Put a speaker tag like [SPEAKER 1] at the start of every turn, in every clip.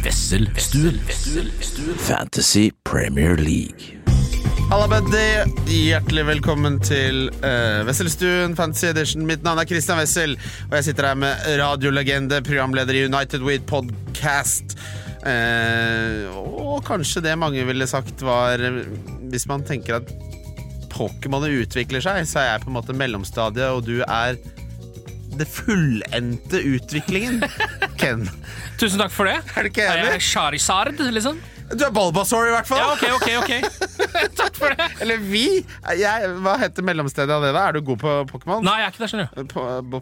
[SPEAKER 1] Vesselstuen. Fantasy Premier League.
[SPEAKER 2] Halla, Bendy. Hjertelig velkommen til eh, Wesselstuen Fantasy Edition. Mitt navn er Christian Wessel, og jeg sitter her med radiolegende, programleder i United Weed Podcast. Eh, og kanskje det mange ville sagt var eh, Hvis man tenker at Pokémonet utvikler seg, så er jeg på en måte mellomstadiet, og du er det fullendte utviklingen, Ken.
[SPEAKER 3] Tusen takk for det.
[SPEAKER 2] Er du ikke
[SPEAKER 3] Er jeg
[SPEAKER 2] enig?
[SPEAKER 3] Charizard, liksom?
[SPEAKER 2] Du er Balbasaur, i hvert fall.
[SPEAKER 3] Ja, ok, ok, ok. takk for det.
[SPEAKER 2] Eller vi. Jeg, hva heter mellomstedet av det, da? Er du god på Pokémon?
[SPEAKER 3] Nei, jeg er ikke der, skjønner du.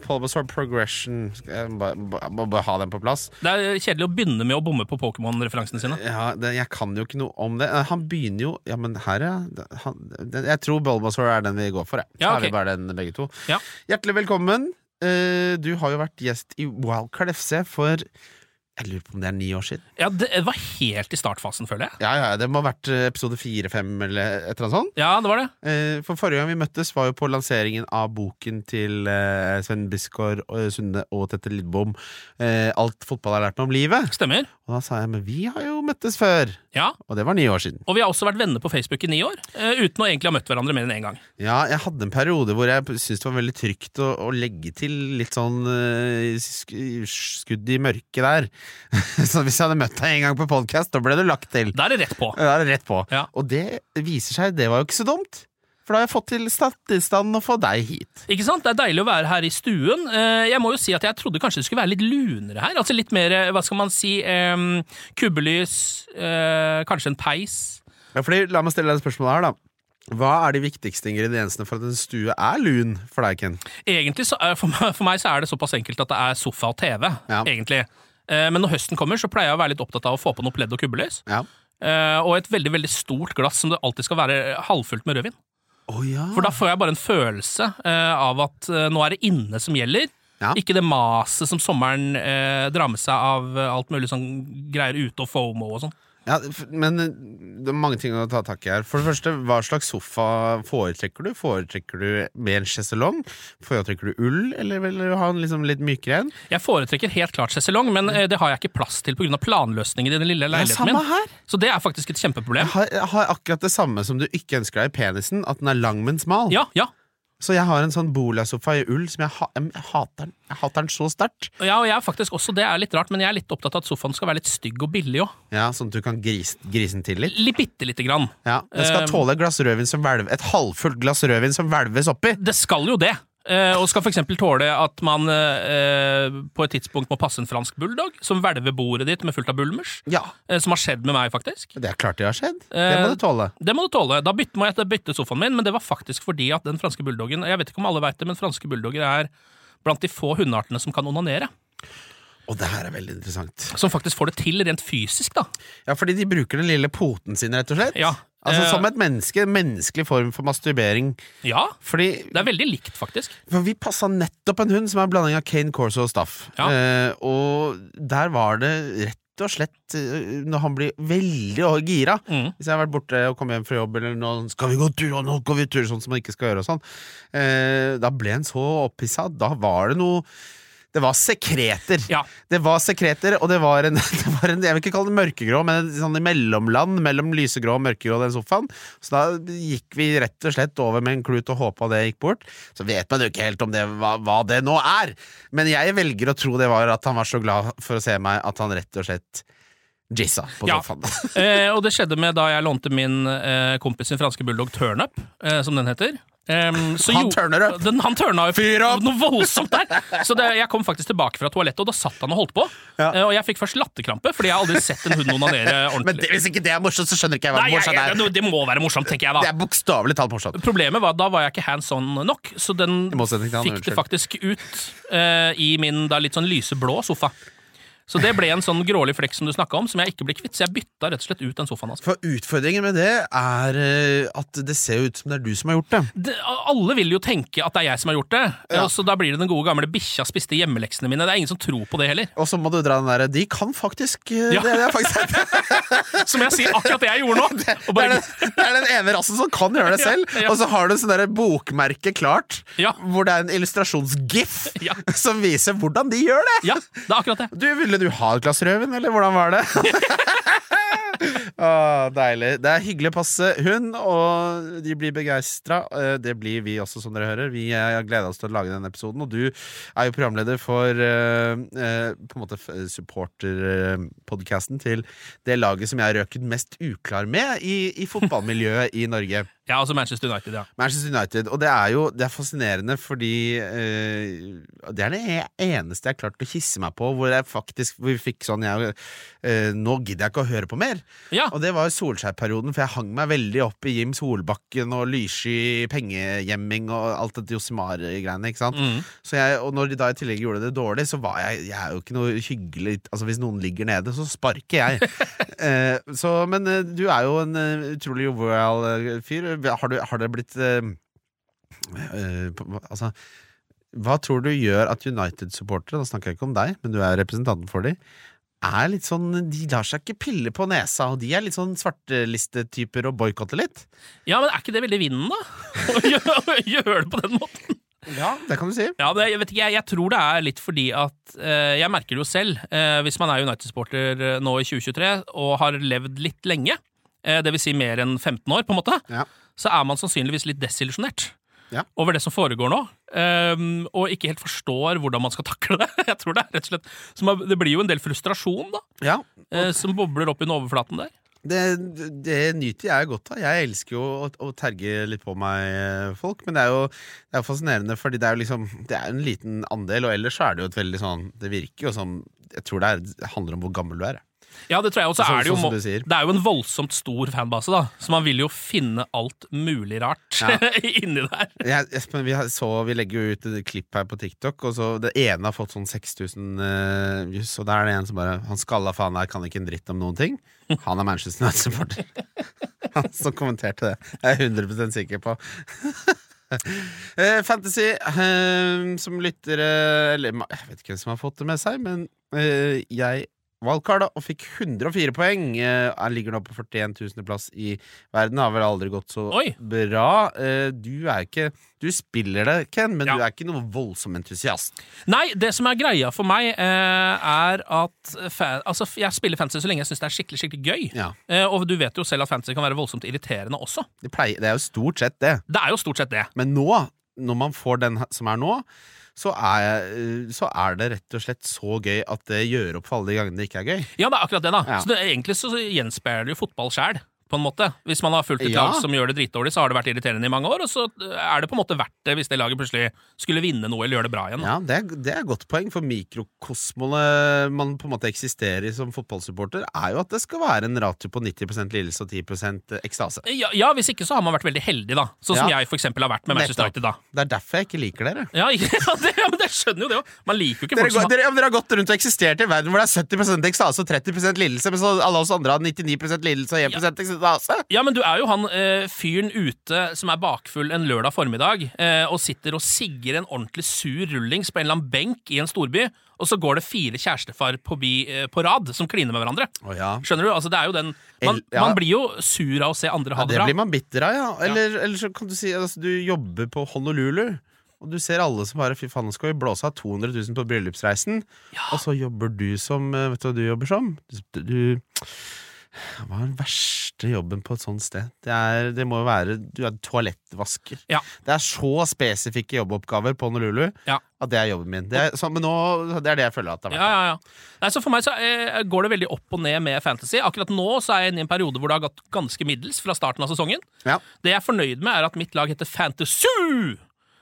[SPEAKER 2] Polbasaur sånn Progression Skal Jeg ba- ba- må bare ha den på plass.
[SPEAKER 3] Det er kjedelig å begynne med å bomme på Pokémon-referansene sine.
[SPEAKER 2] Ja, det, jeg kan jo ikke noe om det. Eh, Han begynner jo Ja, men her, ja. Det- Han, det, jeg tror Bulbasaur er den vi går for. jeg. Så
[SPEAKER 3] Ja,
[SPEAKER 2] er vi
[SPEAKER 3] ok.
[SPEAKER 2] bare den begge to.
[SPEAKER 3] Ja.
[SPEAKER 2] Hjertelig velkommen. Eh, du har jo vært gjest i Wildcard FC for Jeg lurer på om det er ni år siden.
[SPEAKER 3] Ja, Det var helt i startfasen, føler jeg.
[SPEAKER 2] Ja, ja, Det må ha vært eh, episode fire-fem eller et eller annet sånt.
[SPEAKER 3] Ja, det var det.
[SPEAKER 2] Eh, for forrige gang vi møttes, var jo på lanseringen av boken til eh, Sven Biskår Sunde og Tette Lidbom. Eh, alt fotball har lært meg om livet.
[SPEAKER 3] Stemmer.
[SPEAKER 2] Og da sa jeg, men vi har jo møttes før
[SPEAKER 3] Ja,
[SPEAKER 2] Og det var ni år siden
[SPEAKER 3] Og vi har også vært venner på Facebook i ni år, eh, uten å egentlig ha møtt hverandre mer enn én gang.
[SPEAKER 2] Ja, jeg hadde en periode hvor jeg syntes det var veldig trygt Å, å legge til litt sånn eh, sk- skudd i mørket der Så hvis jeg hadde møtt deg en gang på podcast Da ble du lagt til
[SPEAKER 3] Da er det rett på.
[SPEAKER 2] Da er det rett på
[SPEAKER 3] Ja.
[SPEAKER 2] Og det viser seg, det var jo ikke så dumt For da har jeg fått til statistand å få deg hit
[SPEAKER 3] Ikke sant? Det er deilig å være her i stuen. Eh, Jeg må jo si at jeg trodde kanskje det skulle være litt lunere her. Altså litt mer, eh, hva skal man si, em, kubbelys, eh, kanskje en peis.
[SPEAKER 2] Ja, fordi la meg stille deg et spørsmål her da Hva er de viktigste ingrediensene for at en stue er lun for deg, Ken?
[SPEAKER 3] Egentlig så, er- for meg, for meg så er det såpass enkelt at det er sofa og TV,
[SPEAKER 2] Ja.
[SPEAKER 3] egentlig. Eh, Men når høsten kommer, så pleier jeg å være litt opptatt av å få på noe pledd og kubbelys.
[SPEAKER 2] Ja
[SPEAKER 3] Eh, Og et veldig veldig stort glass som det alltid skal være halvfullt med rødvin.
[SPEAKER 2] Åja
[SPEAKER 3] For da får jeg bare en følelse eh, av at eh, nå er det inne som gjelder.
[SPEAKER 2] Ja.
[SPEAKER 3] Ikke det maset som sommeren eh, drar med seg av eh, alt mulig sånn greier ute og fomo og sånn.
[SPEAKER 2] Ja, f- men eh, det er mange ting å ta tak i her. For det første, hva slags sofa foretrekker du? Foretrekker du med en sjeselong? Foretrekker du ull, eller vil du ha en liksom litt mykere en?
[SPEAKER 3] Jeg foretrekker helt klart sjeselong, men eh, det har jeg ikke plass til pga. planløsningen i den lille leiligheten min.
[SPEAKER 2] her.
[SPEAKER 3] Så det er faktisk et kjempeproblem.
[SPEAKER 2] Jeg har, jeg har akkurat det samme som du ikke ønsker deg i penisen, at den er lang, men smal.
[SPEAKER 3] Ja, ja.
[SPEAKER 2] Så jeg har en sånn bolasofa i ull som jeg, ha, jeg hater den. Jeg hater den så sterkt.
[SPEAKER 3] ja, og jeg er faktisk også, det er litt rart, men jeg er litt opptatt av at sofaen skal være litt stygg og billig òg.
[SPEAKER 2] Ja, sånn at du kan grise, grise den til litt.
[SPEAKER 3] Litt bitte lite grann.
[SPEAKER 2] Ja, Den skal
[SPEAKER 3] Eh,
[SPEAKER 2] tåle et glass rødvin som hvelv, et halvfullt glass rødvin som hvelves oppi.
[SPEAKER 3] Det skal jo det. Eh, og skal f.eks. tåle at man eh, på et tidspunkt må passe en fransk bulldog, som hvelver bordet ditt med fullt av bulmers.
[SPEAKER 2] Ja,
[SPEAKER 3] eh, som har skjedd med meg, faktisk.
[SPEAKER 2] det er klart det har skjedd. Det må
[SPEAKER 3] Eh,
[SPEAKER 2] du tåle.
[SPEAKER 3] Det må du tåle. Da bytte, må jeg bytte sofaen min, men det var faktisk fordi at den franske bulldoggen Jeg vet ikke om alle vet det, men franske bulldogger er blant de få hundeartene som kan onanere.
[SPEAKER 2] Og det her er veldig interessant.
[SPEAKER 3] Som faktisk får det til rent fysisk, da.
[SPEAKER 2] Ja, fordi de bruker den lille poten sin, rett og slett.
[SPEAKER 3] Ja.
[SPEAKER 2] Altså
[SPEAKER 3] Eh,
[SPEAKER 2] Som et menneske. En menneskelig form for masturbering.
[SPEAKER 3] Ja,
[SPEAKER 2] Fordi
[SPEAKER 3] det er veldig likt, faktisk.
[SPEAKER 2] for Vi passa nettopp en hund som er en blanding av Kane Corso og Staff.
[SPEAKER 3] Ja.
[SPEAKER 2] Eh, og der var det rett og slett eh, Når han blir veldig gira
[SPEAKER 3] Mm.
[SPEAKER 2] Hvis jeg har vært borte og kommet hjem fra jobb, eller noe, sånn, 'Skal vi gå tur?' og 'Nå går vi tur', sånn som man ikke skal gjøre og sånn. Eh, da ble han så opphissa. Da var det noe Det var sekreter.
[SPEAKER 3] Ja.
[SPEAKER 2] Det var sekreter, og det var en, det var en Jeg vil ikke kalle det mørkegrå, men en sånn i mellomland mellom lysegrå og mørkegrå, den sofaen. Så da gikk vi rett og slett over med en klut og håpa det gikk bort. Så vet man jo ikke helt om det hva, hva det nå er, men jeg velger å tro det var at han var så glad for å se meg at han rett og slett jizza på
[SPEAKER 3] Ja.
[SPEAKER 2] sofaen.
[SPEAKER 3] Eh, og det skjedde med da jeg lånte min eh, kompis sin franske bulldog Turnup, eh, som den heter. Em, så
[SPEAKER 2] Han
[SPEAKER 3] jo-
[SPEAKER 2] turner opp.
[SPEAKER 3] Den, han turna jo
[SPEAKER 2] Fyr opp!
[SPEAKER 3] noe voldsomt der! Så det, jeg kom faktisk tilbake fra toalettet, og da satt han og holdt på.
[SPEAKER 2] Ja.
[SPEAKER 3] Eh, og jeg fikk først latterkrampe, fordi jeg har aldri sett en hund onanere
[SPEAKER 2] Men
[SPEAKER 3] ordentlig.
[SPEAKER 2] det, hvis ikke det er morsomt, så skjønner ikke jeg hva
[SPEAKER 3] Nei, jeg,
[SPEAKER 2] morsomt
[SPEAKER 3] jeg,
[SPEAKER 2] er.
[SPEAKER 3] det, det må være morsomt, tenker jeg
[SPEAKER 2] Det
[SPEAKER 3] da.
[SPEAKER 2] er bokstavelig talt morsomt.
[SPEAKER 3] Problemet var at da var jeg ikke hands on nok, så den
[SPEAKER 2] I motsetning til han,
[SPEAKER 3] fikk det
[SPEAKER 2] unnskyld.
[SPEAKER 3] faktisk ut eh, i min da litt sånn lyseblå sofa. Så det ble en sånn grålig flekk som du snakka om, som jeg ikke ble kvitt. Så jeg bytta rett og slett ut den sofaen. Altså.
[SPEAKER 2] For utfordringen med det er eh, at det ser ut som det er du som har gjort det.
[SPEAKER 3] Det, alle vil jo tenke at det er jeg som har gjort det,
[SPEAKER 2] Ja.
[SPEAKER 3] og så da blir det den gode gamle bikkja spiste hjemmeleksene mine. Det er ingen som tror på det heller.
[SPEAKER 2] Og så må du dra den derre De kan faktisk eh,
[SPEAKER 3] Ja.
[SPEAKER 2] det, det, er faktisk
[SPEAKER 3] Som jeg sier akkurat det jeg gjorde nå! Og
[SPEAKER 2] det, er
[SPEAKER 3] bare,
[SPEAKER 2] den, det er den ene rassen som kan gjøre det
[SPEAKER 3] Ja,
[SPEAKER 2] selv.
[SPEAKER 3] ja.
[SPEAKER 2] Og så har du sånn derre bokmerke klart,
[SPEAKER 3] Ja.
[SPEAKER 2] hvor det er en illustrasjonsgif
[SPEAKER 3] Ja.
[SPEAKER 2] som viser hvordan de gjør det.
[SPEAKER 3] ja, det er akkurat det.
[SPEAKER 2] Du ville du ha et glass rødvin, eller hvordan var det? Åh, deilig. Det er hyggelig å passe hund, og de blir begeistra. Det blir vi også, som dere hører. Vi har gleda oss til å lage denne episoden, og du er jo programleder for eh, eh, På en måte supporterpodkasten til det laget som jeg har røket mest uklar med i, i fotballmiljøet i Norge.
[SPEAKER 3] Ja, altså Manchester United, ja.
[SPEAKER 2] Manchester United. Og det er jo det er fascinerende fordi eh, Det er det eneste jeg har klart å hisse meg på hvor jeg faktisk hvor vi fikk sånn jeg, eh, Nå gidder jeg ikke å høre på mer.
[SPEAKER 3] Ja,
[SPEAKER 2] Og det var jo Solskjær-perioden, for jeg hang meg veldig opp i Jim Solbakken og lyssky pengegjemming og alt det Josimar-greiene. ikke sant?
[SPEAKER 3] Mm.
[SPEAKER 2] Så jeg, og når de da i tillegg gjorde det dårlig, så var jeg Jeg er jo ikke noe hyggelig Altså Hvis noen ligger nede, så sparker jeg. eh, så, men eh, du er jo en eh, utrolig jovial eh, fyr. Har, du, har det blitt eh, eh, på- Altså Hva tror du gjør at United-supportere, da snakker jeg ikke om deg, men du er representanten for dem, er litt sånn De lar seg ikke pille på nesa, og de er litt sånn svartelistetyper og boikotter litt?
[SPEAKER 3] ja men er ikke det veldig vinden, da? Å gjøre gjøre det på den måten?
[SPEAKER 2] Ja, det kan du si.
[SPEAKER 3] Ja, men jeg, vet ikke, jeg, jeg tror det er litt fordi at eh, Jeg merker det jo selv. eh, hvis man er United-sporter eh, nå i 2023 og har levd litt lenge, eh, det vil Si mer enn 15 år, på en måte,
[SPEAKER 2] Ja.
[SPEAKER 3] så er man sannsynligvis litt desillusjonert.
[SPEAKER 2] Ja.
[SPEAKER 3] Over det som foregår nå, eh, og ikke helt forstår hvordan man skal takle det. Jeg tror Det er rett og slett som er- Det blir jo en del frustrasjon da
[SPEAKER 2] ja.
[SPEAKER 3] eh, som bobler opp under overflaten der.
[SPEAKER 2] Det, det nyter jeg godt av. Jeg elsker jo å, å terge litt på meg eh, folk, men det er jo det er fascinerende, fordi det er jo liksom Det er en liten andel, og ellers så er det jo et veldig sånn Det virker jo som Jeg tror det, er, det handler om hvor gammel du er.
[SPEAKER 3] Ja, det tror jeg. Og så
[SPEAKER 2] Sånn-
[SPEAKER 3] er det jo
[SPEAKER 2] sånn som
[SPEAKER 3] må-
[SPEAKER 2] du sier.
[SPEAKER 3] Det er jo en voldsomt stor fanbase, da, så man vil jo finne alt mulig rart
[SPEAKER 2] Ja.
[SPEAKER 3] inni der.
[SPEAKER 2] Jeg, Espen, vi, har- så, vi legger jo ut et klipp her på TikTok, og så det ene har fått sånn 6000 eh, views, og der er det en som bare Han skalla faen her kan ikke en dritt om noen ting. Han er Manchester United-supporter. Han som kommenterte det. Jeg er 100 sikker på. Eh, Fantasy, eh, som lyttere Eller ma- jeg vet ikke hvem som har fått det med seg, men eh, jeg valgkar da, og fikk 104 poeng. Eh, jeg ligger nå på 41 000. plass i verden. Har vel aldri gått så
[SPEAKER 3] Oi.
[SPEAKER 2] bra. Eh, du er ikke Du spiller det, Ken, men
[SPEAKER 3] Ja.
[SPEAKER 2] du er ikke noen voldsom entusiast.
[SPEAKER 3] Nei, det som er greia for meg, eh, er at fa altså, f- jeg spiller fantasy så lenge jeg syns det er skikkelig skikkelig gøy.
[SPEAKER 2] Ja,
[SPEAKER 3] Eh, og du vet jo selv at fantasy kan være voldsomt irriterende også.
[SPEAKER 2] det, pleier, det er jo stort sett det.
[SPEAKER 3] Det er jo stort sett det.
[SPEAKER 2] Men nå, når man får den som er nå, så er, jeg- eh, så er det rett og slett så gøy at det gjør opp for alle de gangene det ikke er gøy.
[SPEAKER 3] Ja, det er akkurat det, da.
[SPEAKER 2] Ja.
[SPEAKER 3] Så det, egentlig så gjenspeiler det jo fotball sjæl. På en måte. Hvis man har fulgt et
[SPEAKER 2] Ja.
[SPEAKER 3] lag som gjør det dritdårlig, så har det vært irriterende i mange år, og så er det på en måte verdt det hvis det laget plutselig skulle vinne noe eller gjøre det bra igjen.
[SPEAKER 2] Ja, det er, det er et godt poeng, for mikrokosmonet man på en måte eksisterer i som fotballsupporter, er jo at det skal være en ratio på 90 lidelse og 10 ekstase.
[SPEAKER 3] Ja, ja, hvis ikke så har man vært veldig heldig, da. Sånn som
[SPEAKER 2] Ja.
[SPEAKER 3] jeg for eksempel har vært med Manchester
[SPEAKER 2] Nettopp.
[SPEAKER 3] United, da.
[SPEAKER 2] Det er derfor jeg ikke liker dere.
[SPEAKER 3] Ja, ikke, ja, det, ja, men jeg skjønner jo det òg. Man liker jo ikke
[SPEAKER 2] Dere,
[SPEAKER 3] folk
[SPEAKER 2] går-
[SPEAKER 3] som
[SPEAKER 2] dere, ja, men dere har gått rundt og eksistert i en verden hvor det er 70 ekstase og 30 lidelse, mens alle oss andre har 99 lidelse og 1 ekstase.
[SPEAKER 3] Ja, men du er jo han eh, fyren ute som er bakfull en lørdag formiddag, eh, og sitter og sigger en ordentlig sur rullings på en eller annen benk i en storby, og så går det fire kjærestefar på, bi, eh, på rad som kliner med hverandre.
[SPEAKER 2] Å ja.
[SPEAKER 3] Skjønner du? Altså, det er jo den Man,
[SPEAKER 2] El- ja.
[SPEAKER 3] man blir jo sur av å se andre ha
[SPEAKER 2] Ja,
[SPEAKER 3] det
[SPEAKER 2] det
[SPEAKER 3] bra.
[SPEAKER 2] blir man bitter av, ja. Eller, eller så kan du si at altså, du jobber på Honolulu, og du ser alle som bare Fy faen, nå skal vi blåse av 200 000 på bryllupsreisen, og så jobber du som eh, Vet du hva du jobber som? Du, du Hva er den verste jobben på et sånt sted? Det, er, det må jo være Du er toalettvasker.
[SPEAKER 3] Ja.
[SPEAKER 2] Det er så spesifikke jobboppgaver på Honolulu
[SPEAKER 3] Ja.
[SPEAKER 2] at det er jobben min. Det er, så, men nå, det er det jeg føler at det har
[SPEAKER 3] Ja,
[SPEAKER 2] vært.
[SPEAKER 3] ja, ja. Nei, så For meg så eh, går det veldig opp og ned med fantasy. Akkurat nå så er jeg inne i en periode hvor det har gått ganske middels fra starten av sesongen.
[SPEAKER 2] Ja,
[SPEAKER 3] Det jeg er fornøyd med, er at mitt lag heter Fantasy!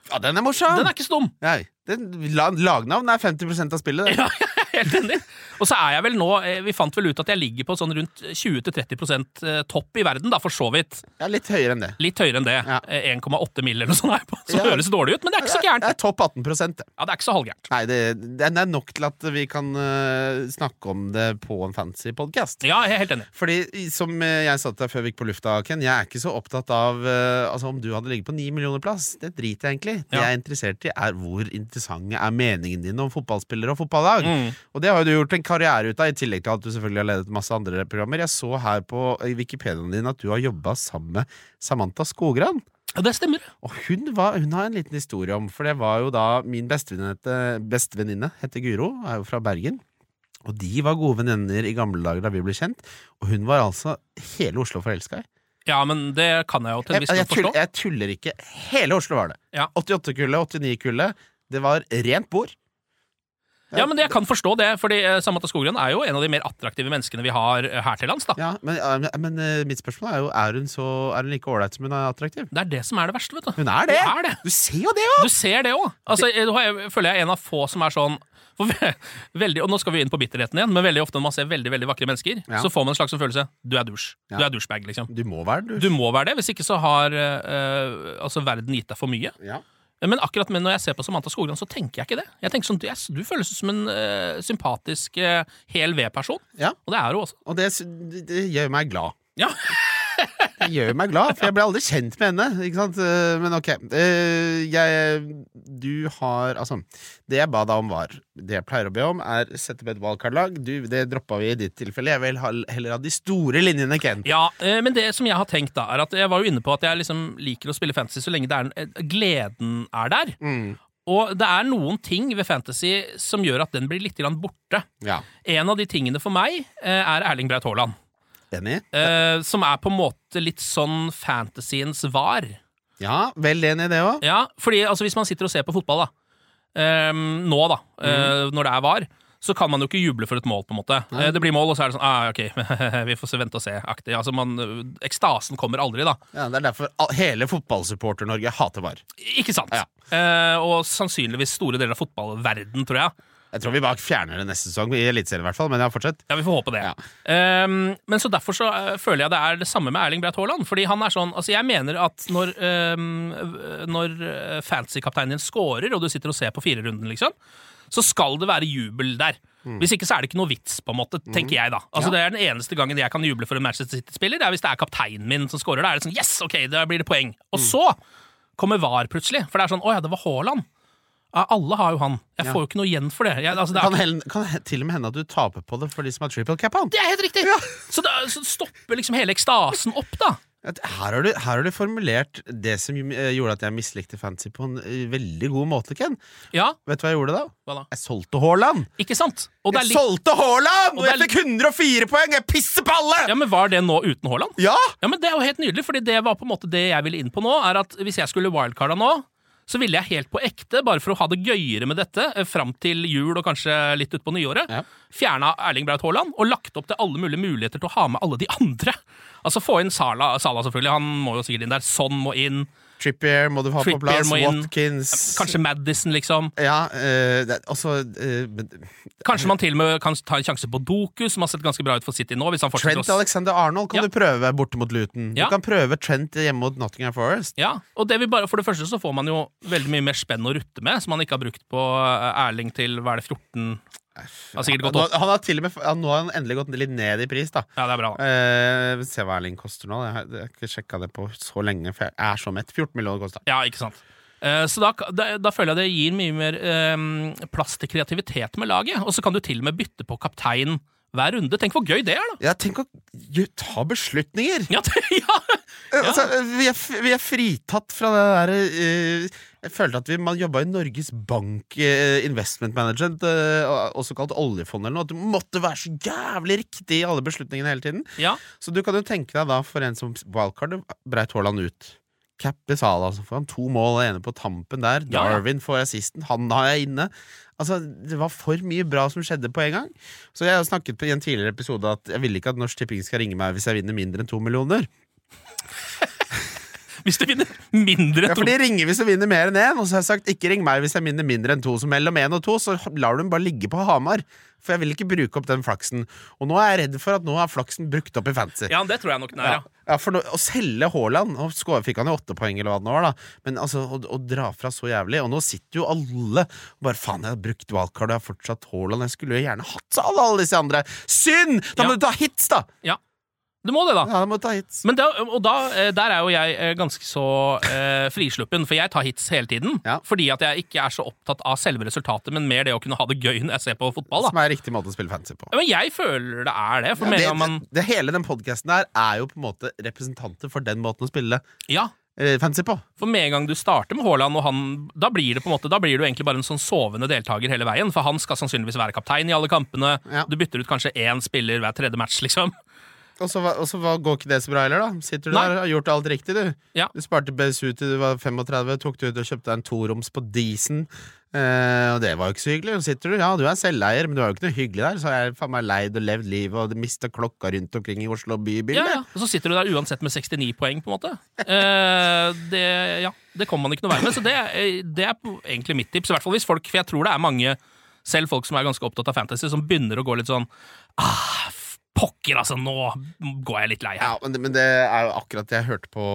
[SPEAKER 2] ja den er morsom!
[SPEAKER 3] Den er ikke stum!
[SPEAKER 2] Nei, den- la- Lagnavn er 50 av spillet. det.
[SPEAKER 3] Ja, jeg er helt enig. Og så er jeg vel nå eh, Vi fant vel ut at jeg ligger på sånn rundt 20-30 eh, topp i verden, da, for så vidt.
[SPEAKER 2] Det er litt høyere enn det.
[SPEAKER 3] Litt høyere enn det.
[SPEAKER 2] Ja.
[SPEAKER 3] Eh, 1,8 mill. eller noe sånt, er jeg på, som
[SPEAKER 2] Ja.
[SPEAKER 3] høres dårlig ut, men det er ikke så
[SPEAKER 2] Det er-
[SPEAKER 3] gærent.
[SPEAKER 2] Det er topp 18 det.
[SPEAKER 3] Ja, det er ikke så halvgærent.
[SPEAKER 2] Nei, det, den er nok til at vi kan eh, snakke om det på en fancy podkast.
[SPEAKER 3] Ja, jeg er helt enig.
[SPEAKER 2] Fordi, i- som eh, jeg sa til deg før vi gikk på lufta, Ken, jeg er ikke så opptatt av eh, Altså om du hadde ligget på ni millioner plass. Det driter jeg egentlig Det
[SPEAKER 3] Ja.
[SPEAKER 2] jeg er interessert i, er hvor interessante er meningene dine om fotballspillere og fotballag. Og det har jo du gjort en karriere ut av, i tillegg til at du selvfølgelig har ledet masse andre programmer. Jeg så her på eh, Wikipediaen din at du har jobba sammen med Samantha Skogran.
[SPEAKER 3] Ja, det stemmer.
[SPEAKER 2] Og hun, var, hun har en liten historie om, for det var jo da min bestevenninne het- bestevenninne heter Guro, er jo fra Bergen. Og de var gode venner i gamle dager da vi ble kjent, og hun var altså hele Oslo forelska i.
[SPEAKER 3] Ja, men det kan jeg jo til en
[SPEAKER 2] Jeg,
[SPEAKER 3] viss
[SPEAKER 2] jeg,
[SPEAKER 3] grad
[SPEAKER 2] tuller,
[SPEAKER 3] forstå.
[SPEAKER 2] jeg tuller ikke. Hele Oslo var det.
[SPEAKER 3] Ja.
[SPEAKER 2] 88-kullet, 89-kullet. Det var rent bord.
[SPEAKER 3] Ja, men Jeg kan forstå det, fordi eh, Samantha Skogran er jo en av de mer attraktive menneskene vi har eh, her til lands. da
[SPEAKER 2] Ja, men, ja, men eh, mitt spørsmål er jo Er hun, så, er hun like ålreit som hun er attraktiv?
[SPEAKER 3] Det er det som er det verste, vet du.
[SPEAKER 2] Hun er det!
[SPEAKER 3] Hun er det.
[SPEAKER 2] Du ser jo det òg!
[SPEAKER 3] Du ser det òg. Altså, jeg- nå har jeg- føler jeg er en av få som er sånn for ve- veldig, Og nå skal vi inn på bitterheten igjen, men veldig ofte når man ser veldig veldig vakre mennesker,
[SPEAKER 2] Ja.
[SPEAKER 3] så får man en slags sånn følelse du er douche. Du
[SPEAKER 2] Ja.
[SPEAKER 3] er douchebag, liksom.
[SPEAKER 2] Du må være det,
[SPEAKER 3] Du
[SPEAKER 2] du.
[SPEAKER 3] må være det, hvis ikke så har eh, eh, altså verden gitt deg for mye.
[SPEAKER 2] Ja.
[SPEAKER 3] Men akkurat med når jeg ser på Samantha Skogran, så tenker jeg ikke det. Jeg tenker sånn, Du, er- du føles som en eh, sympatisk eh, hel ved-person,
[SPEAKER 2] Ja.
[SPEAKER 3] og det er hun også.
[SPEAKER 2] Og det, sy- det, det gjør meg glad.
[SPEAKER 3] Ja.
[SPEAKER 2] Det gjør meg glad, for jeg ble aldri kjent med henne. Ikke sant? Eh, Men ok. Eh, Jeg, du har Altså, det jeg ba deg om, var Det jeg pleier å be om, er sette opp et wildcard-lag. Du, Det droppa vi i ditt tilfelle. Jeg vil ha, heller ha de store linjene, Ken.
[SPEAKER 3] Ja, eh, men det som jeg har tenkt da, er at jeg var jo inne på at jeg liksom liker å spille fantasy så lenge det er, en- eh, gleden er der.
[SPEAKER 2] Mm.
[SPEAKER 3] Og det er noen ting ved fantasy som gjør at den blir litt grann borte.
[SPEAKER 2] Ja.
[SPEAKER 3] En av de tingene for meg eh, er Erling Braut Haaland,
[SPEAKER 2] Enig?
[SPEAKER 3] eh, som er på en måte litt sånn fantasyens var.
[SPEAKER 2] Ja, vel enig i det òg.
[SPEAKER 3] Ja, fordi altså, hvis man sitter og ser på fotball da, eh, nå da, eh, når det er var, så kan man jo ikke juble for et mål, på en måte. Eh, det blir mål, og så er det sånn, ah, ok, vi får se, vente og se, aktig. Altså, man, ekstasen kommer aldri da.
[SPEAKER 2] Ja, det er derfor all- hele fotballsupporter-Norge hater VAR.
[SPEAKER 3] Ikke sant?
[SPEAKER 2] Ja.
[SPEAKER 3] Eh, og sannsynligvis store deler av fotballverden, tror jeg.
[SPEAKER 2] Jeg tror vi bare fjerner det neste sesong, i Eliteserien i hvert fall. Men ja, fortsett.
[SPEAKER 3] Ja, vi får håpe det.
[SPEAKER 2] Ja.
[SPEAKER 3] Ehm, men så Derfor så eh, føler jeg det er det samme med Erling Braut Haaland. Fordi han er sånn, altså Jeg mener at når, um, når eh, fantasy-kapteinen din scorer, og du sitter og ser på firerunden, liksom, så skal det være jubel der. Hvis ikke så er det ikke noe vits, på en måte, tenker jeg da. Altså Det er den eneste gangen jeg kan juble for en Manchester City-spiller, det er hvis det er kapteinen min som scorer. Da er det sånn Yes, ok, da blir det poeng. Og så kommer VAR plutselig. For det er sånn Å ja, det var Haaland. Ja, alle har jo han. Jeg får jo ikke noe igjen for det. Jeg, altså, det er
[SPEAKER 2] Kan, hel- kan he- til og med hende at du taper på det for de som har triple cap on.
[SPEAKER 3] det er helt riktig! Så, da, så stopper liksom hele ekstasen opp, da.
[SPEAKER 2] At Her har, du, her har du formulert det som eh, gjorde at jeg mislikte fantasy på en eh, veldig god måte, Ken.
[SPEAKER 3] Ja,
[SPEAKER 2] Vet du hva jeg gjorde da?
[SPEAKER 3] hva da?
[SPEAKER 2] Jeg solgte Haaland!
[SPEAKER 3] Ikke sant? Og det
[SPEAKER 2] Jeg
[SPEAKER 3] er litt,
[SPEAKER 2] solgte
[SPEAKER 3] Og
[SPEAKER 2] Haaland! Og
[SPEAKER 3] det er
[SPEAKER 2] jeg fikk 104 poeng! Jeg pisser på alle!
[SPEAKER 3] ja, men Var det nå uten Haaland?
[SPEAKER 2] Ja!
[SPEAKER 3] Ja, men Det er jo helt nydelig, fordi det var på en måte det jeg ville inn på nå. er at Hvis jeg skulle wildcarda nå, så ville jeg helt på ekte, bare for å ha det gøyere med dette, eh, fram til jul og kanskje litt utpå nyåret,
[SPEAKER 2] Ja.
[SPEAKER 3] fjerna Erling Braut Haaland og lagt opp til alle mulige muligheter til å ha med alle de andre. Altså Få inn Sala, Sala selvfølgelig, han må jo sikkert inn der. Son må inn.
[SPEAKER 2] Trippier må du ha
[SPEAKER 3] Trippier
[SPEAKER 2] på plass.
[SPEAKER 3] må inn.
[SPEAKER 2] Watkins
[SPEAKER 3] Kanskje Madison, liksom.
[SPEAKER 2] Ja, eh, det er også eh, men-
[SPEAKER 3] Kanskje man til og med kan ta en sjanse på Doku, som har sett ganske bra ut for City nå. Hvis han fortsetter
[SPEAKER 2] Trent
[SPEAKER 3] å-
[SPEAKER 2] Alexander Arnold kan
[SPEAKER 3] Ja.
[SPEAKER 2] du prøve borte mot Luton. Du
[SPEAKER 3] Ja.
[SPEAKER 2] kan prøve Trent hjemme mot Nottingham Forest.
[SPEAKER 3] Ja, og det vil bare, For det første så får man jo veldig mye mer spenn å rutte med, som man ikke har brukt på eh, Erling til hva er det, 14 Har sikkert gått
[SPEAKER 2] Nå,
[SPEAKER 3] opp.
[SPEAKER 2] han har til og med, ja, nå har han endelig gått litt ned i pris, da.
[SPEAKER 3] Ja, det er bra, da.
[SPEAKER 2] Eh, se hva Erling koster nå. Jeg har, jeg har ikke sjekka det på så lenge, for jeg er så mett. 14 millioner kosta.
[SPEAKER 3] Ja, ikke sant. Eh, Så da, da, da føler jeg det gir mye mer eh, plass til kreativitet med laget. Og så kan du til og med bytte på kaptein hver runde. Tenk hvor gøy det er, da!
[SPEAKER 2] Ja, tenk å ju- ta beslutninger!
[SPEAKER 3] Ja, det, ja.
[SPEAKER 2] Eh, Altså, vi, er, f- vi er fritatt fra det derre Jeg følte at vi, man jobba i Norges Bank eh, Investment Management, eh, og- også kalt oljefondet, eller noe. At du måtte være så jævlig riktig i alle beslutningene hele tiden.
[SPEAKER 3] ja.
[SPEAKER 2] Så du kan jo tenke deg da, for en som wildcard, Braut Haaland ut. Cappe Sala, så altså. får han to mål, ene på tampen der.
[SPEAKER 3] Ja, ja.
[SPEAKER 2] Darwin får assisten, han har jeg inne. Altså, Det var for mye bra som skjedde på en gang. Så jeg har jo snakket på- i en tidligere episode at jeg ville ikke at Norsk Tipping skal ringe meg hvis jeg vinner mindre enn to millioner.
[SPEAKER 3] Hvis du vinner mindre
[SPEAKER 2] Ja,
[SPEAKER 3] enn
[SPEAKER 2] for
[SPEAKER 3] to
[SPEAKER 2] de ringer hvis du vinner mer enn én, og så har jeg sagt ikke ring meg hvis jeg vinner mindre enn to. Så mellom én og to, så lar du den bare ligge på Hamar. For jeg vil ikke bruke opp den flaksen. Og nå er jeg redd for at nå er flaksen brukt opp i fantasy.
[SPEAKER 3] Ja, det tror jeg nok den er,
[SPEAKER 2] Ja.
[SPEAKER 3] ja.
[SPEAKER 2] Ja, for nå, Å selge Haaland og score, Fikk han jo åtte poeng, eller hva det nå var. da Men altså, å, å dra fra så jævlig Og nå sitter jo alle og bare Faen, jeg har brukt wildcard, og jeg har fortsatt Haaland. Jeg skulle jo gjerne hatt så alle, alle disse andre. Synd! Da
[SPEAKER 3] Ja.
[SPEAKER 2] må du ta hits, da!
[SPEAKER 3] Du må det, da.
[SPEAKER 2] Ja, du må ta hits
[SPEAKER 3] Men da, og da, eh, der er jo jeg eh, ganske så eh, frisluppen, for jeg tar hits hele tiden.
[SPEAKER 2] Ja.
[SPEAKER 3] Fordi at jeg ikke er så opptatt av selve resultatet, men mer det å kunne ha det gøy når jeg ser på fotball. Da.
[SPEAKER 2] Som er riktig måte å spille fancy på.
[SPEAKER 3] Ja, Men jeg føler det er det. For
[SPEAKER 2] Ja,
[SPEAKER 3] med
[SPEAKER 2] det,
[SPEAKER 3] en gang man
[SPEAKER 2] det, det Hele den podkasten her er jo på en måte representanter for den måten å spille.
[SPEAKER 3] Ja.
[SPEAKER 2] eh, fancy på.
[SPEAKER 3] For med en gang du starter med Haaland, og han, da blir det på en måte, da blir du egentlig bare en sånn sovende deltaker hele veien. For han skal sannsynligvis være kaptein i alle kampene.
[SPEAKER 2] Ja.
[SPEAKER 3] Du bytter ut kanskje én spiller hver tredje match, liksom.
[SPEAKER 2] Og så, hva- og så hva- går ikke det så bra heller, da. Sitter du
[SPEAKER 3] Nei.
[SPEAKER 2] der og har gjort alt riktig, du.
[SPEAKER 3] Ja.
[SPEAKER 2] Du sparte BSU til du var 35, tok du ut og kjøpte deg en toroms på Disen. Eh, og det var jo ikke så hyggelig. Og sitter du, ja, du er selveier, men du er jo ikke noe hyggelig der. Så har jeg faen meg leid og levd livet og mista klokka rundt omkring i Oslo bybilde.
[SPEAKER 3] Ja, ja. Og så sitter du der uansett med 69 poeng, på en måte. Eh, det, ja, det kommer man ikke noe vei med. Så det, er- eh, det er på- egentlig mitt tips. I hvert fall hvis folk, For jeg tror det er mange, selv folk som er ganske opptatt av fantasy, som begynner å gå litt sånn ah, f- Pokker, altså! Nå går jeg litt lei her.
[SPEAKER 2] Ja, men det, men det er jo akkurat Jeg hørte, på,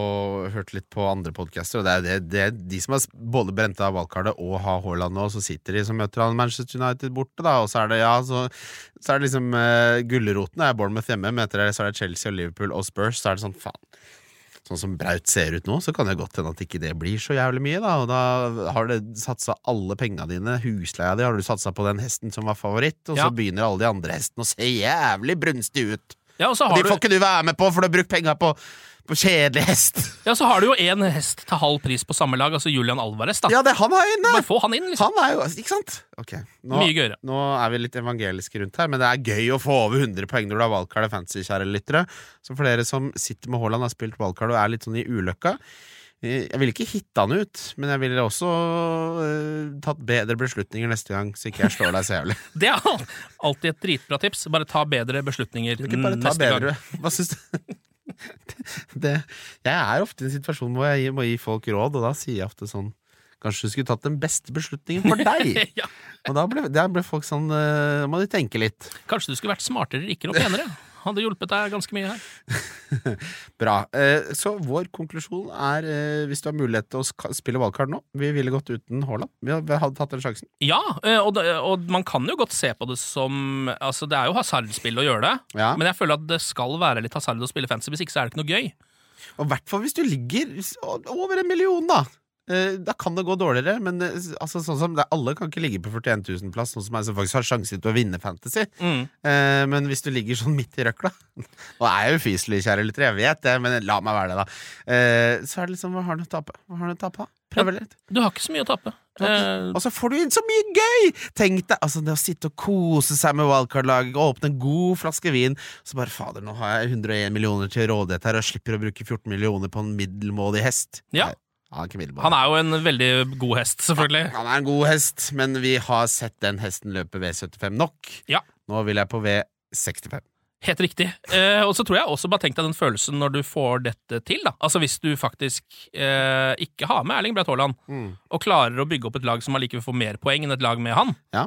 [SPEAKER 2] hørte litt på andre podcaster Og det er, det, det er de som har både brent av valgkartet Og har Haaland nå Så sitter de som møter han Manchester United borte da Og så er det, ja Så, så er det liksom uh, Gulleroten er Bournemouth hjemme Men etter det så er det Chelsea og Liverpool og Spurs Så er det sånn, faen Sånn som Braut ser ut nå, så kan det godt hende at ikke det blir så jævlig mye, da. Og da har du satsa alle penga dine, husleia di, har du satsa på den hesten som var favoritt, og
[SPEAKER 3] Ja.
[SPEAKER 2] så begynner alle de andre hestene å se jævlig brunstig ut.
[SPEAKER 3] Ja, og så
[SPEAKER 2] Og
[SPEAKER 3] har
[SPEAKER 2] de får
[SPEAKER 3] du,
[SPEAKER 2] ikke du være med på, for du har brukt penga på, på kjedelig hest.
[SPEAKER 3] ja, så har du jo én hest til halv pris på samme lag, altså Julian Alvarez. da
[SPEAKER 2] Ja, det han har inne!
[SPEAKER 3] Bare få han inn, liksom.
[SPEAKER 2] Han er jo Ikke sant? Ok, nå,
[SPEAKER 3] Mye gøyere.
[SPEAKER 2] nå er vi litt evangeliske rundt her, men det er gøy å få over 100 poeng når du har valgkart og fancy, kjære lyttere. Så for dere som sitter med Haaland, har spilt valgkart og er litt sånn i ulykka eh, jeg ville ikke hitte han ut, men jeg ville også eh, tatt bedre beslutninger neste gang, så ikke jeg slår deg så jævlig.
[SPEAKER 3] Det er al- alltid et dritbra tips. Bare ta bedre beslutninger
[SPEAKER 2] Ikke bare ta
[SPEAKER 3] neste gang.
[SPEAKER 2] bedre Hva syns du? Det, jeg er ofte i en situasjon hvor jeg må gi folk råd, og da sier jeg ofte sånn Kanskje du skulle tatt den beste beslutningen for deg?
[SPEAKER 3] ja.
[SPEAKER 2] Og da ble, der ble folk sånn eh, må du tenke litt.
[SPEAKER 3] Kanskje du skulle vært smartere, rikere og penere. Hadde hjulpet deg ganske mye her.
[SPEAKER 2] Bra. Eh, så vår konklusjon er, eh, hvis du har mulighet til å ska- spille valgkart nå Vi ville gått uten Haaland. Vi hadde hadde tatt den sjansen.
[SPEAKER 3] Ja, eh, og, det- og man kan jo godt se på det som Altså, det er jo hasardspill å gjøre det,
[SPEAKER 2] Ja.
[SPEAKER 3] men jeg føler at det skal være litt hasard å spille fancy, hvis ikke så er det ikke noe gøy.
[SPEAKER 2] Og i hvert fall hvis du ligger s- o- over en million, da. Eh, Da kan det gå dårligere, men eh, s- altså, sånn som det, alle kan ikke ligge på 41 000-plass, sånn som jeg som faktisk har sjanse til å vinne Fantasy.
[SPEAKER 3] Mm.
[SPEAKER 2] Eh, Men hvis du ligger sånn midt i røkla Og jeg er jo ufyselig, kjære lyttere, jeg vet det, men la meg være det, da. Eh, Så er det liksom, hva har du å tape? Hva har du å tape? da? Prøv litt.
[SPEAKER 3] Du har ikke så mye å tape. Eh,
[SPEAKER 2] Og så får du inn så mye gøy! Tenk deg altså det å sitte og kose seg med wildcard-laget og åpne en god flaske vin. Så bare fader, nå har jeg 101 millioner til rådighet her og slipper å bruke 14 millioner på en middelmådig hest.
[SPEAKER 3] Ja.
[SPEAKER 2] Nei, han er ikke middelmådig.
[SPEAKER 3] han er jo en veldig god hest, selvfølgelig.
[SPEAKER 2] Han er en god hest, men vi har sett den hesten løpe V75 nok.
[SPEAKER 3] Ja.
[SPEAKER 2] Nå vil jeg på V65.
[SPEAKER 3] Helt riktig. Eh, og så tror jeg også bare tenk deg den følelsen når du får dette til, da. Altså hvis du faktisk eh, ikke har med Erling Braut Haaland,
[SPEAKER 2] Mm.
[SPEAKER 3] og klarer å bygge opp et lag som allikevel får mer poeng enn et lag med han.
[SPEAKER 2] Ja.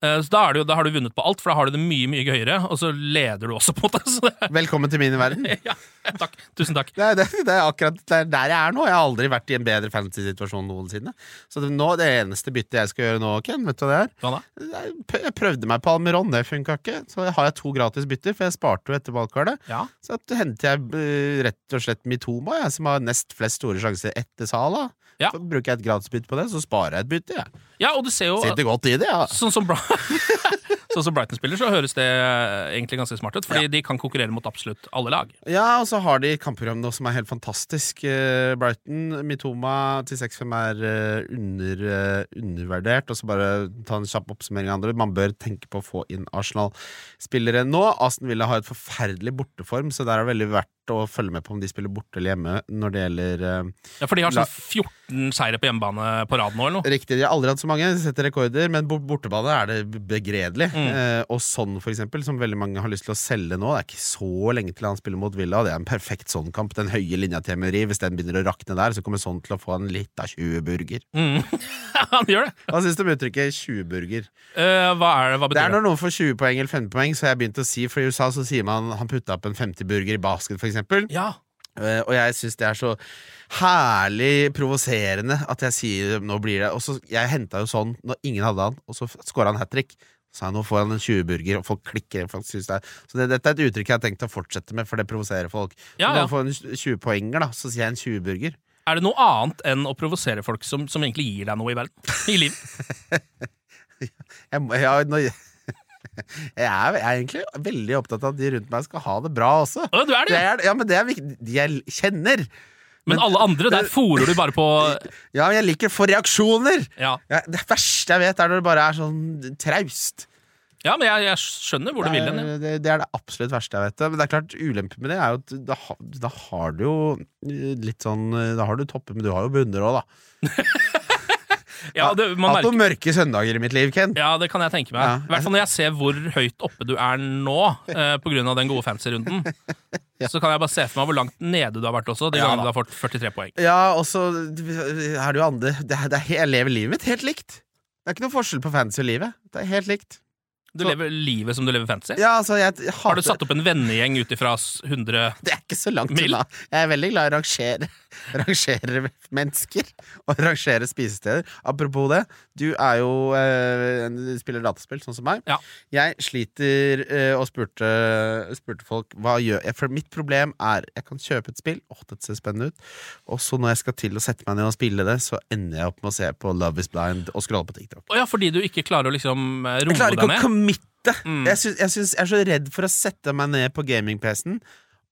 [SPEAKER 3] Eh, så da, er det jo, da har du vunnet på alt, for da har du det mye, mye gøyere, og så leder du også på det. Så det
[SPEAKER 2] Velkommen til min verden.
[SPEAKER 3] ja, takk. Tusen takk.
[SPEAKER 2] Det er, det, det er akkurat der, der jeg er nå. Jeg har aldri vært i en bedre fantasy-situasjon noensinne. Så det, nå, det eneste byttet jeg skal gjøre nå, Ken, vet du hva det er?
[SPEAKER 3] Hva da?
[SPEAKER 2] Jeg prø- jeg prøvde meg på Almeron, det funka ikke. Så har jeg to gratis bytter, for jeg sparte jo etter valgkartet.
[SPEAKER 3] Ja.
[SPEAKER 2] Så at henter jeg eh, rett og slett Mitoma, jeg, som har nest flest store sjanser etter Sala.
[SPEAKER 3] Ja.
[SPEAKER 2] Så bruker jeg et gratisbytte på det, så sparer jeg et bytte. Jeg.
[SPEAKER 3] ja, og du ser jo
[SPEAKER 2] Sitter godt i det, ja.
[SPEAKER 3] Sånn som, Bra- sånn som Brighton spiller, så høres det eh, egentlig ganske smart ut, fordi de kan konkurrere mot absolutt alle lag.
[SPEAKER 2] Ja, og så har de et kampprogram nå som er helt fantastisk. Eh, Brighton, Mitoma til 6-5 er eh, under, eh, undervurdert. Og så bare ta en kjapp oppsummering av andre. Man bør tenke på å få inn Arsenal-spillere nå. Aston Villa har et forferdelig borteform, så der er det veldig verdt å følge med på om de spiller borte eller hjemme når det gjelder eh,
[SPEAKER 3] Ja, For de har
[SPEAKER 2] La-
[SPEAKER 3] sånn 14 seire på hjemmebane på rad nå, eller noe.
[SPEAKER 2] Riktig, de har aldri hatt så mange, de setter rekorder, men på bortebane er det begredelig. Eh, og sånn, for eksempel, som veldig mange har lyst til å selge nå. Det er ikke så lenge til han spiller mot Villa, og det er en perfekt sånn kamp. Den høye linja til Emery, hvis den begynner å rakne der, så kommer sånn til å få en lita 20-burger.
[SPEAKER 3] Mm. Han gjør det!
[SPEAKER 2] Hva syns du om uttrykket 20-burger?
[SPEAKER 3] Eh, hva, er det, hva
[SPEAKER 2] Det er
[SPEAKER 3] betyr det?
[SPEAKER 2] når noen får 20 poeng eller 15 poeng, så har jeg begynt å si, for i USA så sier man han putta opp en 50-burger i basket, for eksempel.
[SPEAKER 3] Ja.
[SPEAKER 2] Eh, Og jeg syns det er så herlig provoserende at jeg sier nå blir det Og så Jeg henta jo sånn når ingen hadde han, og så skåra han hat trick. Så nå får han en 20-burger, og folk klikker. Folk synes det er. Så det, Dette er et uttrykk jeg har tenkt å fortsette med, for det provoserer folk.
[SPEAKER 3] Ja,
[SPEAKER 2] Når
[SPEAKER 3] ja.
[SPEAKER 2] han får en 20-poenger, da, så sier jeg en 20-burger.
[SPEAKER 3] Er det noe annet enn å provosere folk som, som egentlig gir deg noe i verden? I livet?
[SPEAKER 2] Jeg, må- ja, nå- jeg, er, jeg er egentlig veldig opptatt av at de rundt meg skal ha det bra også.
[SPEAKER 3] Å, du er det!
[SPEAKER 2] Det er, ja, men det er viktig. De jeg kjenner.
[SPEAKER 3] Men alle andre, der fòrer du bare på
[SPEAKER 2] Ja, jeg liker å få reaksjoner!
[SPEAKER 3] Ja,
[SPEAKER 2] Ja, det verste jeg vet, er når det bare er sånn traust.
[SPEAKER 3] ja men jeg, jeg skjønner hvor du vil hen. ja.
[SPEAKER 2] det, er- det, det er det absolutt verste jeg vet. Men det er klart, ulempen med det er jo at da, ha- da har du jo litt sånn Da har du topper, men du har jo bunner òg, da.
[SPEAKER 3] Ja, det, man
[SPEAKER 2] Hatt
[SPEAKER 3] merker,
[SPEAKER 2] noen mørke søndager i mitt liv, Ken.
[SPEAKER 3] ja, det kan jeg tenke
[SPEAKER 2] Ja.
[SPEAKER 3] meg. I hvert fall når jeg ser hvor høyt oppe du er nå, eh, på grunn av den gode fancy-runden. Så kan jeg bare se for meg hvor langt nede du har vært også, de
[SPEAKER 2] Ja,
[SPEAKER 3] gangene du
[SPEAKER 2] da.
[SPEAKER 3] har fått 43 poeng.
[SPEAKER 2] Ja, og så er det jo andre det er, det er, Jeg lever livet mitt helt likt. Det er ikke noe forskjell på fancy og livet. Det er helt likt.
[SPEAKER 3] Du
[SPEAKER 2] Så-
[SPEAKER 3] lever livet som du lever fancy.
[SPEAKER 2] Ja, altså, jeg, jeg
[SPEAKER 3] Har du
[SPEAKER 2] hater-
[SPEAKER 3] satt opp en vennegjeng ut ifra s- 100
[SPEAKER 2] Det er ikke så langt
[SPEAKER 3] Mild.
[SPEAKER 2] unna. Jeg er veldig glad i å rangere, rangere mennesker og rangere spisesteder. Apropos det, du er jo eh, en- spiller dataspill, sånn som meg.
[SPEAKER 3] Ja.
[SPEAKER 2] Jeg sliter eh, og spurte, spurte folk hva gjør jeg For mitt problem er jeg kan kjøpe et spill, åh, dette ser spennende ut, og så når jeg skal til å sette meg ned og spille det, så ender jeg opp med å se på Love Is Blind og scrolle på TikTok.
[SPEAKER 3] Å ja, fordi du ikke klarer å liksom eh,
[SPEAKER 2] Jeg
[SPEAKER 3] roe
[SPEAKER 2] klarer
[SPEAKER 3] deg
[SPEAKER 2] ikke å
[SPEAKER 3] ned?
[SPEAKER 2] committe.
[SPEAKER 3] Mm.
[SPEAKER 2] Jeg, syns- jeg, syns- jeg er så redd for å sette meg ned på gaming-PC-en,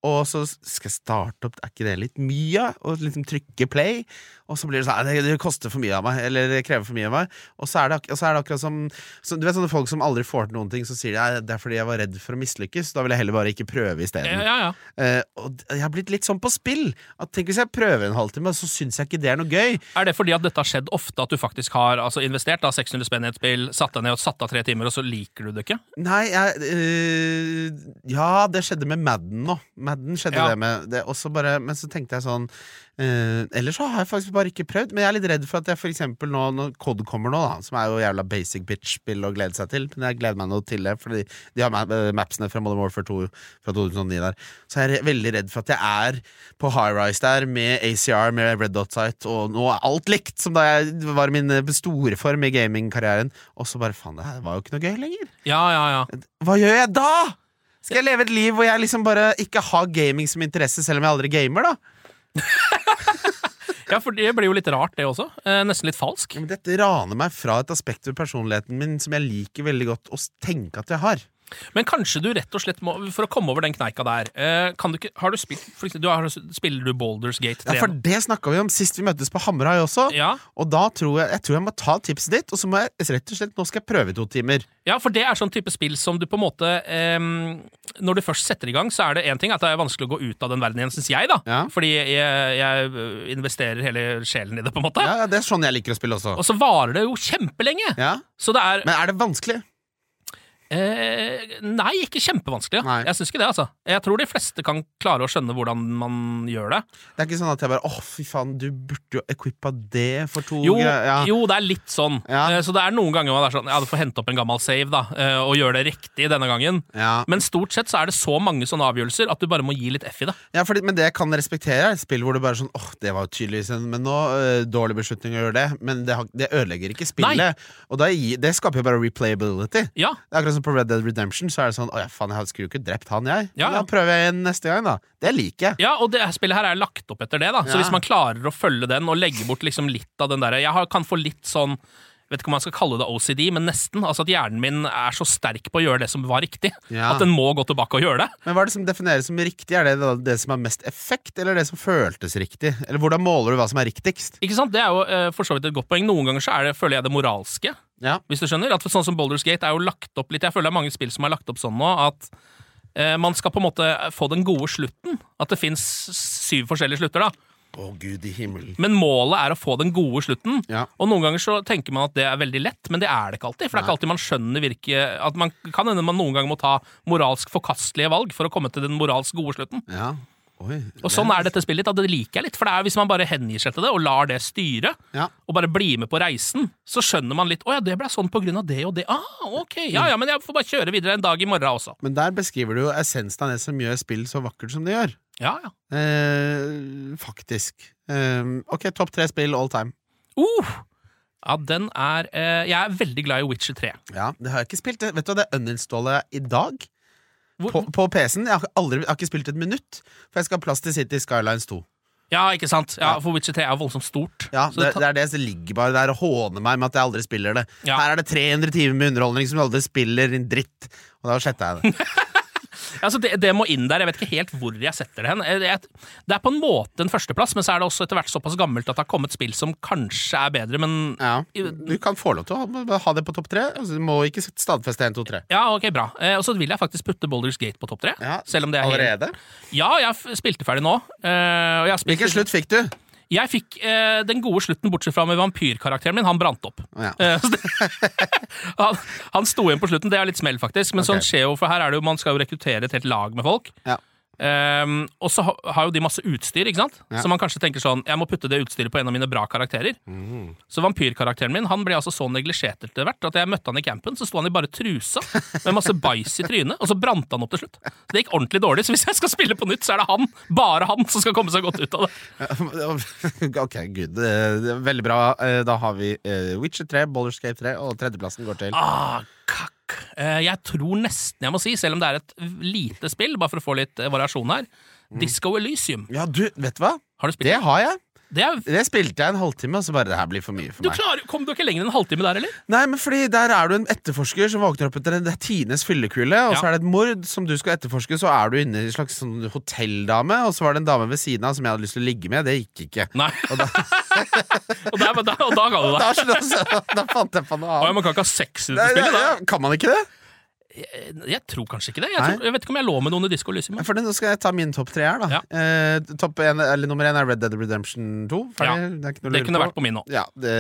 [SPEAKER 2] og så skal jeg starte opp Er ikke det litt mye? Og liksom trykke play, og så blir det sånn «Nei, Det, det koster for mye av meg, eller det krever for mye av meg. Og så er det, ak- og så er det akkurat som så, Du vet sånne folk som aldri får til noen ting, så sier de «Nei, det er fordi jeg var redd for å mislykkes. Da vil jeg heller bare ikke prøve
[SPEAKER 3] Ja,
[SPEAKER 2] isteden.
[SPEAKER 3] ja, ja.
[SPEAKER 2] Eh, og d- jeg har blitt litt sånn på spill. At tenk hvis jeg prøver en halvtime, og så syns jeg ikke det er noe gøy.
[SPEAKER 3] Er det fordi at dette har skjedd ofte, at du faktisk har altså, investert da, 600 spenn i et spill, satt deg ned og satt av tre timer, og så liker du det ikke?
[SPEAKER 2] Nei, jeg øh, Ja, det skjedde med Madden nå. Madden skjedde
[SPEAKER 3] Ja.
[SPEAKER 2] det med det. Og så bare, men så tenkte jeg sånn øh, Ellers så har jeg faktisk bare ikke prøvd. Men jeg er litt redd for at jeg for eksempel nå når Cod kommer nå, da, som er jo jævla basic bitch-spill å glede seg til Men jeg gleder meg nå til det, fordi de har ma- øh, mapsene fra Modern Warfare 2 fra 2009 der. Så jeg er re- veldig redd for at jeg er på high rise der med ACR, med Red Dot Site, og nå er alt likt som da jeg var i min øh, store form i gamingkarrieren. Og så bare faen, det her var jo ikke noe gøy lenger.
[SPEAKER 3] Ja, ja, ja.
[SPEAKER 2] Hva gjør jeg da?! Skal jeg leve et liv hvor jeg liksom bare ikke har gaming som interesse, selv om jeg aldri gamer, da?
[SPEAKER 3] Ja, for det blir jo litt rart, det også. Eh, nesten litt falsk.
[SPEAKER 2] Ja, men dette raner meg fra et aspekt ved personligheten min som jeg liker veldig godt å s- tenke at jeg har.
[SPEAKER 3] Men kanskje du rett og slett må For å komme over den kneika der eh, kan du ikke, Har du spilt for eksempel, du har, Spiller du Boulders Gate 3?
[SPEAKER 2] Ja, For det snakka vi om sist vi møttes på Hammerhai også.
[SPEAKER 3] ja,
[SPEAKER 2] Og da tror jeg jeg tror jeg må ta tipset ditt, og så må jeg rett og slett nå skal jeg prøve i to timer.
[SPEAKER 3] Ja, for det er sånn type spill som du på en måte ehm, Når du først setter i gang, så er det én ting at det er vanskelig å gå ut av den verden igjen, syns jeg, da.
[SPEAKER 2] Ja.
[SPEAKER 3] Fordi jeg, jeg investerer hele sjelen i det, på en måte.
[SPEAKER 2] Ja, ja, Det er sånn jeg liker å spille også.
[SPEAKER 3] Og så varer det jo kjempelenge!
[SPEAKER 2] Ja.
[SPEAKER 3] Så det er
[SPEAKER 2] Men er det vanskelig?
[SPEAKER 3] eh, Nei, ikke kjempevanskelig.
[SPEAKER 2] Nei.
[SPEAKER 3] Jeg syns ikke det, altså. Jeg tror de fleste kan klare å skjønne hvordan man gjør det.
[SPEAKER 2] Det er ikke sånn at jeg bare åh, fy faen, du burde jo equippa det for to
[SPEAKER 3] Jo,
[SPEAKER 2] greier. Ja.
[SPEAKER 3] jo, det er litt sånn.
[SPEAKER 2] Ja.
[SPEAKER 3] Eh, Så det er noen ganger man er sånn Ja, du får hente opp en gammel save, da, eh, og gjøre det riktig denne gangen.
[SPEAKER 2] Ja.
[SPEAKER 3] Men stort sett så er det så mange sånne avgjørelser at du bare må gi litt F i det.
[SPEAKER 2] Ja, fordi, men det jeg kan respektere, er et spill hvor du bare sånn Åh, det var jo tydeligvis en Men nå, øh, dårlig beslutning å gjøre det, men det, har, det ødelegger ikke spillet.
[SPEAKER 3] Nei.
[SPEAKER 2] Og da, gi- det skaper jo bare replayability. Det
[SPEAKER 3] Ja,
[SPEAKER 2] er akkurat som på Red Dead Redemption. Så er det sånn Å ja, faen, jeg skulle jo ikke drept han, jeg.
[SPEAKER 3] Ja, ja.
[SPEAKER 2] Da prøver jeg igjen neste gang, da. Det liker jeg.
[SPEAKER 3] ja og det her spillet her er lagt opp etter det, da. Så
[SPEAKER 2] Ja.
[SPEAKER 3] hvis man klarer å følge den og legge bort liksom litt av den derre Jeg har, kan få litt sånn Vet ikke om man skal kalle det OCD, men nesten. Altså At hjernen min er så sterk på å gjøre det som var riktig,
[SPEAKER 2] Ja.
[SPEAKER 3] at den må gå tilbake og gjøre det.
[SPEAKER 2] Men hva er det som defineres som riktig? Er det da det som har mest effekt, eller det som føltes riktig? Eller hvordan måler du hva som er riktigst?
[SPEAKER 3] Ikke sant? Det er jo eh, for så vidt et godt poeng. Noen ganger så er det, føler jeg det moralske.
[SPEAKER 2] Ja.
[SPEAKER 3] Hvis du skjønner, at Sånn som Boulders Gate er jo lagt opp litt Jeg føler det er mange spill som er lagt opp sånn nå at eh, man skal på en måte få den gode slutten. At det fins syv forskjellige slutter, da.
[SPEAKER 2] Å, gud i himmelen.
[SPEAKER 3] Men målet er å få den gode slutten.
[SPEAKER 2] Ja.
[SPEAKER 3] Og noen ganger så tenker man at det er veldig lett, men det er det ikke alltid. For det er ikke alltid man skjønner virke at man kan hende man noen ganger må ta moralsk forkastelige valg for å komme til den moralsk gode slutten.
[SPEAKER 2] ja. Oi.
[SPEAKER 3] Og sånn er dette spillet litt, og det liker jeg litt. For det er hvis man bare hengir seg til det og lar det styre,
[SPEAKER 2] Ja.
[SPEAKER 3] og bare blir med på reisen, så skjønner man litt 'Å ja, det ble sånn på grunn av det og det'. Ah, ok, ja ja, men jeg får bare kjøre videre en dag i morgen også.
[SPEAKER 2] Men der beskriver du jo essensen av det som gjør spill så vakkert som det gjør.
[SPEAKER 3] Ja ja.
[SPEAKER 2] Eh, faktisk. Eh, ok, topp tre spill all time.
[SPEAKER 3] Uh, ja, den er eh, Jeg er veldig glad i Witcher 3.
[SPEAKER 2] Ja, Det har jeg ikke spilt. Vet du hva, det uninstallet jeg i dag.
[SPEAKER 3] Hvor,
[SPEAKER 2] På, på PC-en. Jeg, har aldri- jeg har ikke spilt et minutt, for jeg skal ha plass til City Skylines 2.
[SPEAKER 3] Ja, ikke sant? Ja, For Witcher 3 er voldsomt stort.
[SPEAKER 2] Ja,
[SPEAKER 3] Så
[SPEAKER 2] det,
[SPEAKER 3] det ta-
[SPEAKER 2] det er det som ligger bare der og håner meg med at jeg aldri spiller det.
[SPEAKER 3] Ja.
[SPEAKER 2] Her er det 300 timer med underholdning som du aldri spiller, din dritt. Og da sletter jeg det.
[SPEAKER 3] Altså, det, det må inn der. Jeg vet ikke helt hvor jeg setter det hen. Jeg- jeg- Det er på en måte en førsteplass, men så er det også etter hvert såpass gammelt at det har kommet spill som kanskje er bedre, men
[SPEAKER 2] Ja. Du kan få lov til å ha- ha det på topp tre. Altså, du må ikke stadfeste 1, 2, 3.
[SPEAKER 3] Ja, ok, bra. Eh, Og så vil jeg faktisk putte Boulders Gate på topp tre.
[SPEAKER 2] Ja,
[SPEAKER 3] selv om det er helt...
[SPEAKER 2] Allerede?
[SPEAKER 3] Ja, jeg f- spilte ferdig nå. eh, og jeg har spilt-
[SPEAKER 2] Hvilken slutt fikk du?
[SPEAKER 3] Jeg fikk eh, den gode slutten, bortsett fra med vampyrkarakteren min. Han brant opp.
[SPEAKER 2] Ja.
[SPEAKER 3] Eh, så det- han, han sto igjen på slutten. Det er litt smell, faktisk. Men sånn skjer jo, for her er det jo, man skal jo rekruttere et helt lag med folk.
[SPEAKER 2] Ja.
[SPEAKER 3] Ehm, og så ha, har jo de masse utstyr, ikke sant?
[SPEAKER 2] Ja.
[SPEAKER 3] Så man kanskje tenker sånn Jeg må putte det utstyret på en av mine bra karakterer.
[SPEAKER 2] Mm.
[SPEAKER 3] Så vampyrkarakteren min Han ble altså så neglisjert etter hvert at jeg møtte han i campen, så sto han i bare trusa med masse bæsj i trynet, og så brant han opp til slutt. Det gikk ordentlig dårlig, så hvis jeg skal spille på nytt, så er det han, bare han, som skal komme seg godt ut av det.
[SPEAKER 2] Ok, gud. eh, det er Veldig bra. Eh, Da har vi eh, Witcher 3, Baldur's Gate 3, og tredjeplassen går til
[SPEAKER 3] Ah, kakk. Eh, Jeg tror nesten jeg må si, selv om det er et lite spill, bare for å få litt eh, variasjon her, Disco Elysium.
[SPEAKER 2] Ja, du, vet du hva?
[SPEAKER 3] Har du spilt
[SPEAKER 2] Mm. Det har jeg.
[SPEAKER 3] det? Er,
[SPEAKER 2] Det spilte jeg en halvtime, og så bare Det her blir for mye for
[SPEAKER 3] du
[SPEAKER 2] meg.
[SPEAKER 3] klarer, kom du ikke lenger enn en halvtime der, eller?
[SPEAKER 2] Nei, men fordi Der er du en etterforsker som våkner opp etter en det er tidenes fyllekule, og
[SPEAKER 3] Ja.
[SPEAKER 2] så er det et mord som du skal etterforske, så er du inne i en slags sånn hotelldame, og så var det en dame ved siden av som jeg hadde lyst til å ligge med. Det gikk ikke.
[SPEAKER 3] Nei. Og da, og da, og da ga du deg.
[SPEAKER 2] Da, da, da fant jeg på noe
[SPEAKER 3] Å, ja,
[SPEAKER 2] annet.
[SPEAKER 3] Man kan ikke ha sex i
[SPEAKER 2] Nei,
[SPEAKER 3] dette
[SPEAKER 2] nei,
[SPEAKER 3] spillet? Da.
[SPEAKER 2] nei, Kan man ikke det?
[SPEAKER 3] Jeg, jeg tror kanskje ikke det. Jeg,
[SPEAKER 2] Nei.
[SPEAKER 3] tror, jeg vet ikke om jeg lå med noen i Disko Lysium.
[SPEAKER 2] For det, Nå skal jeg ta min topp tre her. da
[SPEAKER 3] Ja.
[SPEAKER 2] eh, topp en, eller Nummer én er Red Dead Redemption 2. Ferdig? Det er ikke
[SPEAKER 3] Det
[SPEAKER 2] noe å lure
[SPEAKER 3] kunne
[SPEAKER 2] på.
[SPEAKER 3] vært på min nå.
[SPEAKER 2] Ja, det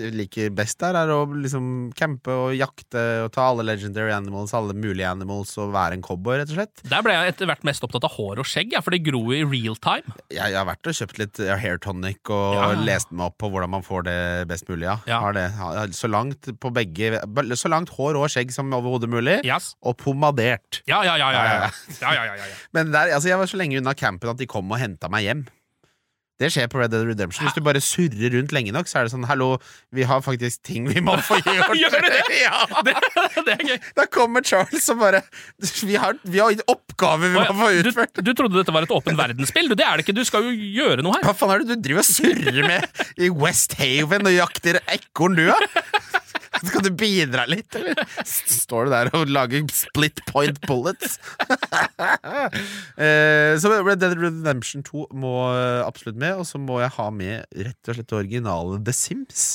[SPEAKER 2] jeg liker best der, er å liksom campe og jakte og ta alle legendary animals, alle mulige animals, og være en cowboy, rett og slett.
[SPEAKER 3] Der ble jeg etter hvert mest opptatt av hår og skjegg, ja, for det gror jo i real time.
[SPEAKER 2] Jeg, jeg har vært og kjøpt litt ja, hair tonic og
[SPEAKER 3] Ja.
[SPEAKER 2] lest meg opp på hvordan man får det best mulig. Ja.
[SPEAKER 3] Ja.
[SPEAKER 2] Har det, har- så langt på begge Så langt hår og skjegg som overhodet mulig,
[SPEAKER 3] Yes.
[SPEAKER 2] og pomadert.
[SPEAKER 3] Ja, ja, ja. ja, ja. ja, ja, ja, ja, ja.
[SPEAKER 2] Men der, altså, jeg var så lenge unna campen at de kom og henta meg hjem. Det skjer på Red Dead Redemption. Hvis du bare surrer rundt lenge nok, så er det sånn 'hallo, vi har faktisk ting vi må få gjort'.
[SPEAKER 3] Gjør du det?
[SPEAKER 2] Ja.
[SPEAKER 3] Det, det er gøy.
[SPEAKER 2] Da kommer Charles og bare Vi har, vi har en oppgave vi
[SPEAKER 3] Å,
[SPEAKER 2] må få
[SPEAKER 3] ja. Du,
[SPEAKER 2] utført.
[SPEAKER 3] du trodde dette var et åpen verdensspill? Du, det er det ikke. Du skal jo gjøre noe her.
[SPEAKER 2] Hva faen er det du driver og surrer med i West Haven og jakter ekorn, du, da? Skal du bidra litt, eller? Står du der og lager split point bullets? Eh, så Red Dead Redemption 2 må eh, absolutt med, og så må jeg ha med rett og slett det originale The Sims.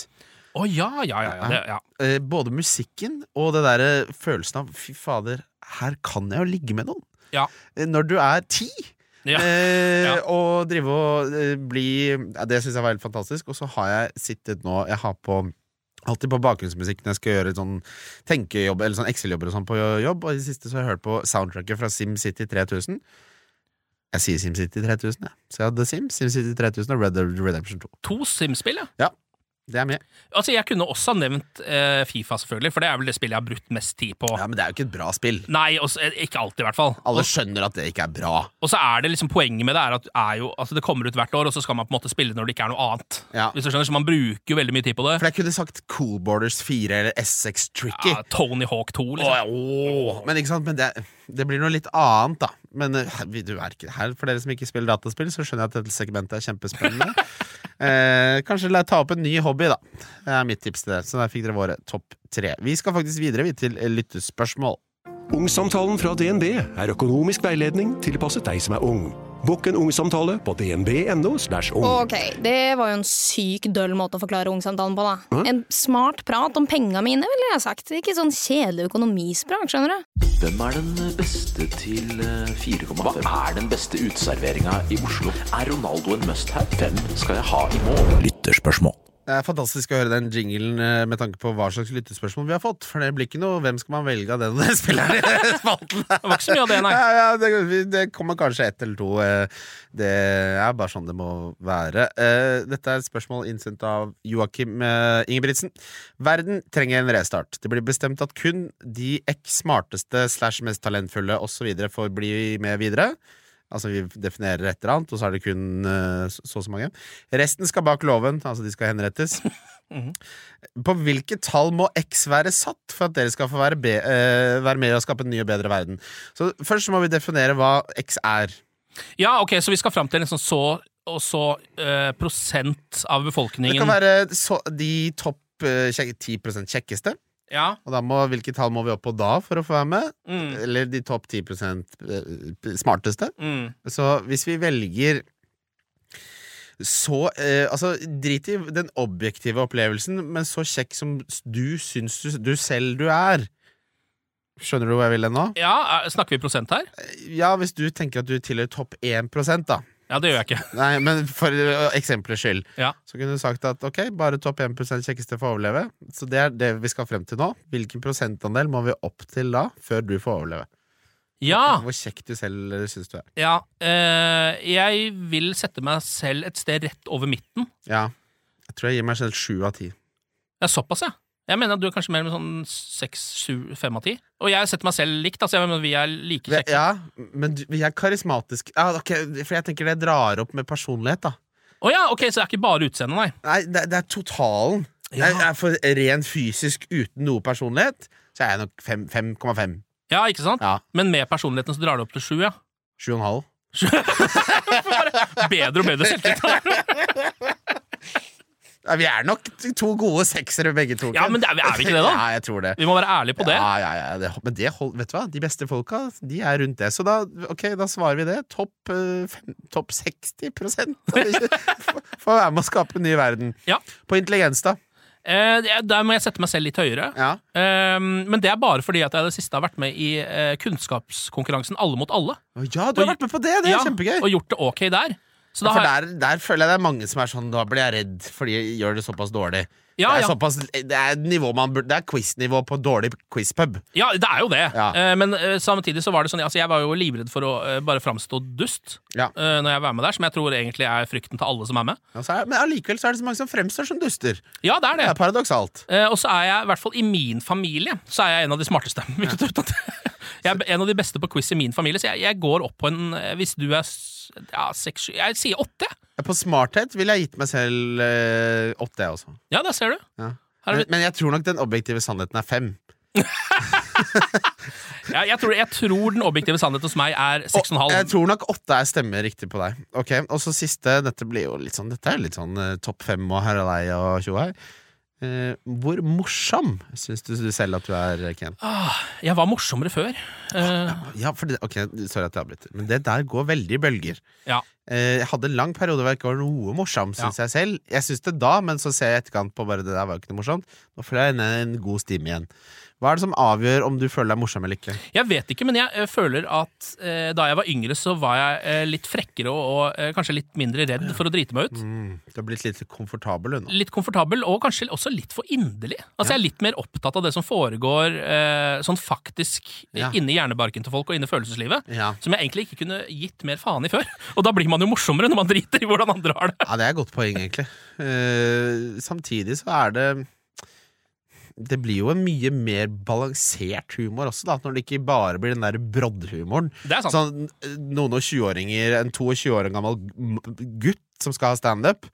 [SPEAKER 3] Å ja, ja, ja. ja, det, ja.
[SPEAKER 2] Eh, Både musikken og det der eh, følelsen av fy fader, her kan jeg jo ligge med noen.
[SPEAKER 3] Ja.
[SPEAKER 2] Eh, Når du er ti.
[SPEAKER 3] Ja.
[SPEAKER 2] Eh,
[SPEAKER 3] Ja.
[SPEAKER 2] Og drive og eh, bli ja, Det syns jeg var helt fantastisk. Og så har jeg sittet nå Jeg har på Alltid på bakgrunnsmusikk når jeg skal gjøre sånn tenkejobb eller sånn Excel-jobber og sånn på jobb. Og i det siste så har jeg hørt på soundtracket fra SimCity 3000. Jeg sier SimCity 3000, jeg. Så jeg hadde Sim, SimCity 3000 og Red Dead Redemption 2.
[SPEAKER 3] To Sims-spill, ja.
[SPEAKER 2] Det er med.
[SPEAKER 3] Altså, jeg kunne også ha nevnt eh, Fifa, selvfølgelig, for det er vel det spillet jeg har brutt mest tid på.
[SPEAKER 2] Ja, Men det er jo ikke et bra spill.
[SPEAKER 3] Nei, også, eh, ikke alltid, i hvert fall.
[SPEAKER 2] Alle skjønner at det ikke er bra.
[SPEAKER 3] Og så er det liksom poenget med det er at er jo, altså det kommer ut hvert år, og så skal man på en måte spille når det ikke er noe annet.
[SPEAKER 2] Ja.
[SPEAKER 3] Hvis du skjønner, så Man bruker jo veldig mye tid på det.
[SPEAKER 2] For jeg kunne sagt Cool Borders 4 eller SX Tricky.
[SPEAKER 3] Ja, Tony Hawk 2, liksom.
[SPEAKER 2] Åh, Men, ikke sant? men det, det blir noe litt annet, da. Men eh, vi- du er ikke her For dere som ikke spiller dataspill, så skjønner jeg at dette segmentet er kjempespennende. eh, kanskje la ta opp en ny hobby, da. Det er mitt tips til dere. Så der fikk dere våre topp tre. Vi skal faktisk videre vi, til eh, lyttespørsmål.
[SPEAKER 4] Ungsamtalen fra DNB er økonomisk veiledning tilpasset deg som er ung. Bokk en ungsamtale på dnb.no. /ung.
[SPEAKER 5] Ok, det var jo en syk døll måte å forklare ungsamtalen på, da. En smart prat om penga mine, ville jeg sagt. Ikke sånn kjedelig økonomisprat, skjønner du.
[SPEAKER 1] Hvem er den beste til eh, 4,5? Hva er den beste uteserveringa i Oslo? Er Ronaldo en must-have? Hvem skal jeg ha i mål? Lytterspørsmål.
[SPEAKER 2] Det er fantastisk å høre den jinglen eh, med tanke på hva slags lyttespørsmål vi har fått. For det blir ikke noe 'Hvem skal man velge av den spilleren?' i spalten.
[SPEAKER 3] Det var ikke så mye av det, nei.
[SPEAKER 2] Ja, ja, det, vi- det kommer kanskje ett eller to. eh, Det er bare sånn det må være. Eh, Dette er et spørsmål innsendt av Joakim eh, Ingebrigtsen. Verden trenger en restart. Det blir bestemt at kun de x smarteste slash mest talentfulle osv. får bli med videre. Altså Vi definerer et eller annet, og så er det kun eh, så så og så mange. Resten skal bak låven, altså de skal henrettes. Mhm. På hvilket tall må X være satt for at dere skal få være, be eh, være med og skape en ny og bedre verden? Så Først så må vi definere hva X er.
[SPEAKER 3] Ja, ok, så vi skal fram til en sånn så og så eh, prosent av
[SPEAKER 2] Det
[SPEAKER 3] befolkningen
[SPEAKER 2] kan være så, de topp eh, kjek- 10 kjekkeste.
[SPEAKER 3] Ja.
[SPEAKER 2] Og da må, hvilke tall må vi opp på da for å få være med?
[SPEAKER 3] Mm.
[SPEAKER 2] Eller de topp 10 eh, smarteste?
[SPEAKER 3] Mm.
[SPEAKER 2] Så hvis vi velger så eh, Altså, drit i den objektive opplevelsen, men så kjekk som du syns du, du selv du er. Skjønner du hvor jeg vil hen nå?
[SPEAKER 3] ja, er- snakker vi prosent her?
[SPEAKER 2] Ja, hvis du tenker at du tilhører topp 1 da.
[SPEAKER 3] Ja, det gjør jeg ikke.
[SPEAKER 2] Nei, men for eh, eksemplets skyld.
[SPEAKER 3] Ja.
[SPEAKER 2] Så kunne du sagt at ok, bare topp 1 kjekkeste får overleve. Så det er det vi skal frem til nå. Hvilken prosentandel må vi opp til da, før du får overleve?
[SPEAKER 3] Ja,
[SPEAKER 2] Hvor kjekk du selv syns du er.
[SPEAKER 3] ja. Eh, jeg vil sette meg selv et sted rett over midten.
[SPEAKER 2] Ja. Jeg tror jeg gir meg selv sju av ti.
[SPEAKER 3] Ja, såpass, ja. Jeg mener at du er kanskje mer med sånn seks, sju, fem av ti. Og jeg setter meg selv likt, altså. Jeg mener vi er like
[SPEAKER 2] Vi-
[SPEAKER 3] kjekke.
[SPEAKER 2] Ja, men du- vi er karismatiske. Ja, ok, for jeg tenker det drar opp med personlighet, da.
[SPEAKER 3] Å ja, ok, så det er ikke bare utseendet, nei.
[SPEAKER 2] Nei, det, det er totalen.
[SPEAKER 3] Ja.
[SPEAKER 2] Jeg er for ren fysisk uten noe personlighet, så er jeg nok fem- 5,5.
[SPEAKER 3] Ja, ikke sant?
[SPEAKER 2] Ja.
[SPEAKER 3] Men med personligheten så drar det opp til sju, ja.
[SPEAKER 2] 7,5.
[SPEAKER 3] Bedre og bedre selvtillit.
[SPEAKER 2] Ja, vi er nok t- to gode seksere begge to.
[SPEAKER 3] Ja,
[SPEAKER 2] Ken.
[SPEAKER 3] men det er vi- er vi ikke det, da?
[SPEAKER 2] Ja, jeg tror det.
[SPEAKER 3] Vi må være ærlige på det.
[SPEAKER 2] Ja, ja, ja, det men det hold, vet du hva? De beste folka de er rundt det. Så da, ok, da svarer vi det. Topp eh, fem- topp 60 for, for å være med å skape en ny verden.
[SPEAKER 3] Ja.
[SPEAKER 2] På intelligens, da.
[SPEAKER 3] Eh, det- der må jeg sette meg selv litt høyere.
[SPEAKER 2] Ja.
[SPEAKER 3] Eh, men det er bare fordi at jeg i det siste har vært med i eh, kunnskapskonkurransen Alle mot alle.
[SPEAKER 2] Å, ja, du har
[SPEAKER 3] Og-
[SPEAKER 2] vært med på det! Det er
[SPEAKER 3] Ja,
[SPEAKER 2] kjempegøy.
[SPEAKER 3] Og gjort det ok der. Så da
[SPEAKER 2] For
[SPEAKER 3] har jeg,
[SPEAKER 2] der, der føler jeg det er mange som er sånn Da blir jeg redd, fordi jeg gjør det såpass dårlig.
[SPEAKER 3] Ja,
[SPEAKER 2] det, er
[SPEAKER 3] ja.
[SPEAKER 2] såpass, det er nivå man burde Det er quiznivå på dårlig quizpub.
[SPEAKER 3] ja, det er jo det.
[SPEAKER 2] Ja.
[SPEAKER 3] Eh, men eh, samtidig så var det sånn altså, Jeg var jo livredd for å eh, bare framstå dust
[SPEAKER 2] Ja.
[SPEAKER 3] eh, når jeg var med der, som jeg tror egentlig er frykten til alle som er med.
[SPEAKER 2] Og så er- Men allikevel så er det så mange som fremstår som duster.
[SPEAKER 3] Ja, det er
[SPEAKER 2] Det
[SPEAKER 3] det.
[SPEAKER 2] er paradoksalt.
[SPEAKER 3] Eh, og så er jeg, i hvert fall i min familie, så er jeg en av de smarteste. Hvilket uten at- jeg er en av de beste på quiz i min familie, så jeg, jeg går opp på en eh, Hvis du er s- ja, seks, sju Jeg sier åtte, jeg.
[SPEAKER 2] På smarthet ville jeg gitt meg selv eh, åtte, jeg også.
[SPEAKER 3] Ja, der ser du.
[SPEAKER 2] Ja.
[SPEAKER 3] Her er
[SPEAKER 2] Men,
[SPEAKER 3] vi-
[SPEAKER 2] men jeg tror nok den objektive sannheten er fem.
[SPEAKER 3] Ja, jeg, tror, jeg tror den objektive sannheten hos meg er
[SPEAKER 2] Og jeg
[SPEAKER 3] 6,5.
[SPEAKER 2] tror nok åtte er stemmer riktig på deg. Ok, Og så siste. Dette blir jo litt sånn Dette er litt sånn eh, topp fem og herrelei og tjohei. Eh, hvor morsom syns du, du selv at du er, Ken?
[SPEAKER 3] Ah, jeg var morsommere før. Eh,
[SPEAKER 2] Ja, for det, ok, Sorry at jeg avbryter, men det der går veldig i bølger.
[SPEAKER 3] Ja.
[SPEAKER 2] Eh, jeg hadde en lang periode hvor jeg ikke var noe morsom, syns jeg selv. Jeg syns det da, men så ser jeg i etterkant på bare det der var jo ikke noe morsomt. Nå føler jeg en, en god stime igjen. Hva er det som avgjør om du føler deg morsom eller ikke?
[SPEAKER 3] jeg vet ikke, men jeg eh, føler at eh, da jeg var yngre, så var jeg eh, litt frekkere og, og eh, kanskje litt mindre redd for å drite meg
[SPEAKER 2] Mm.
[SPEAKER 3] ut.
[SPEAKER 2] Du har blitt litt komfortabel du, nå.
[SPEAKER 3] Litt komfortabel, og kanskje også litt for inderlig. Altså Jeg er litt mer opptatt av det som foregår eh, sånn faktisk eh,
[SPEAKER 2] Ja.
[SPEAKER 3] inni hjernebarken til folk og inni følelseslivet.
[SPEAKER 2] Ja.
[SPEAKER 3] Som jeg egentlig ikke kunne gitt mer faen i før. Og da blir man jo morsommere når man driter i hvordan andre har det.
[SPEAKER 2] Ja, det er et godt poeng, egentlig. Eh, samtidig så er det Det blir jo en mye mer balansert humor også, da, når det ikke bare blir den der broddhumoren.
[SPEAKER 3] Det er sant.
[SPEAKER 2] Sånn, eh, noen og 20-åringer, en 22 år gammel m- gutt som skal ha standup,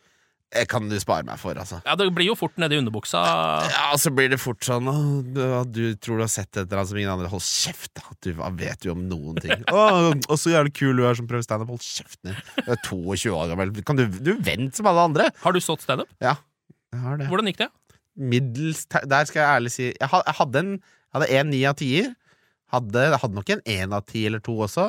[SPEAKER 2] det kan du spare meg for, altså.
[SPEAKER 3] Ja, Det blir jo fort nedi underbuksa.
[SPEAKER 2] Ja, og så blir det fort sånn «Åh, du, du tror du har sett et eller annet som ingen andre Hold kjeft, da! Du hva vet du om noen ting. Åh, og så jævlig kul du er som prøver standup. Hold kjeften din. Du er 22 år gammel. Kan du, du vent som alle andre!
[SPEAKER 3] Har du stått standup?
[SPEAKER 2] Ja, jeg har det.
[SPEAKER 3] Hvordan gikk det?
[SPEAKER 2] Middels te- Der skal jeg ærlig si Jeg, ha- jeg hadde en jeg hadde en ni av tier. Hadde, jeg hadde nok en én av ti eller to også.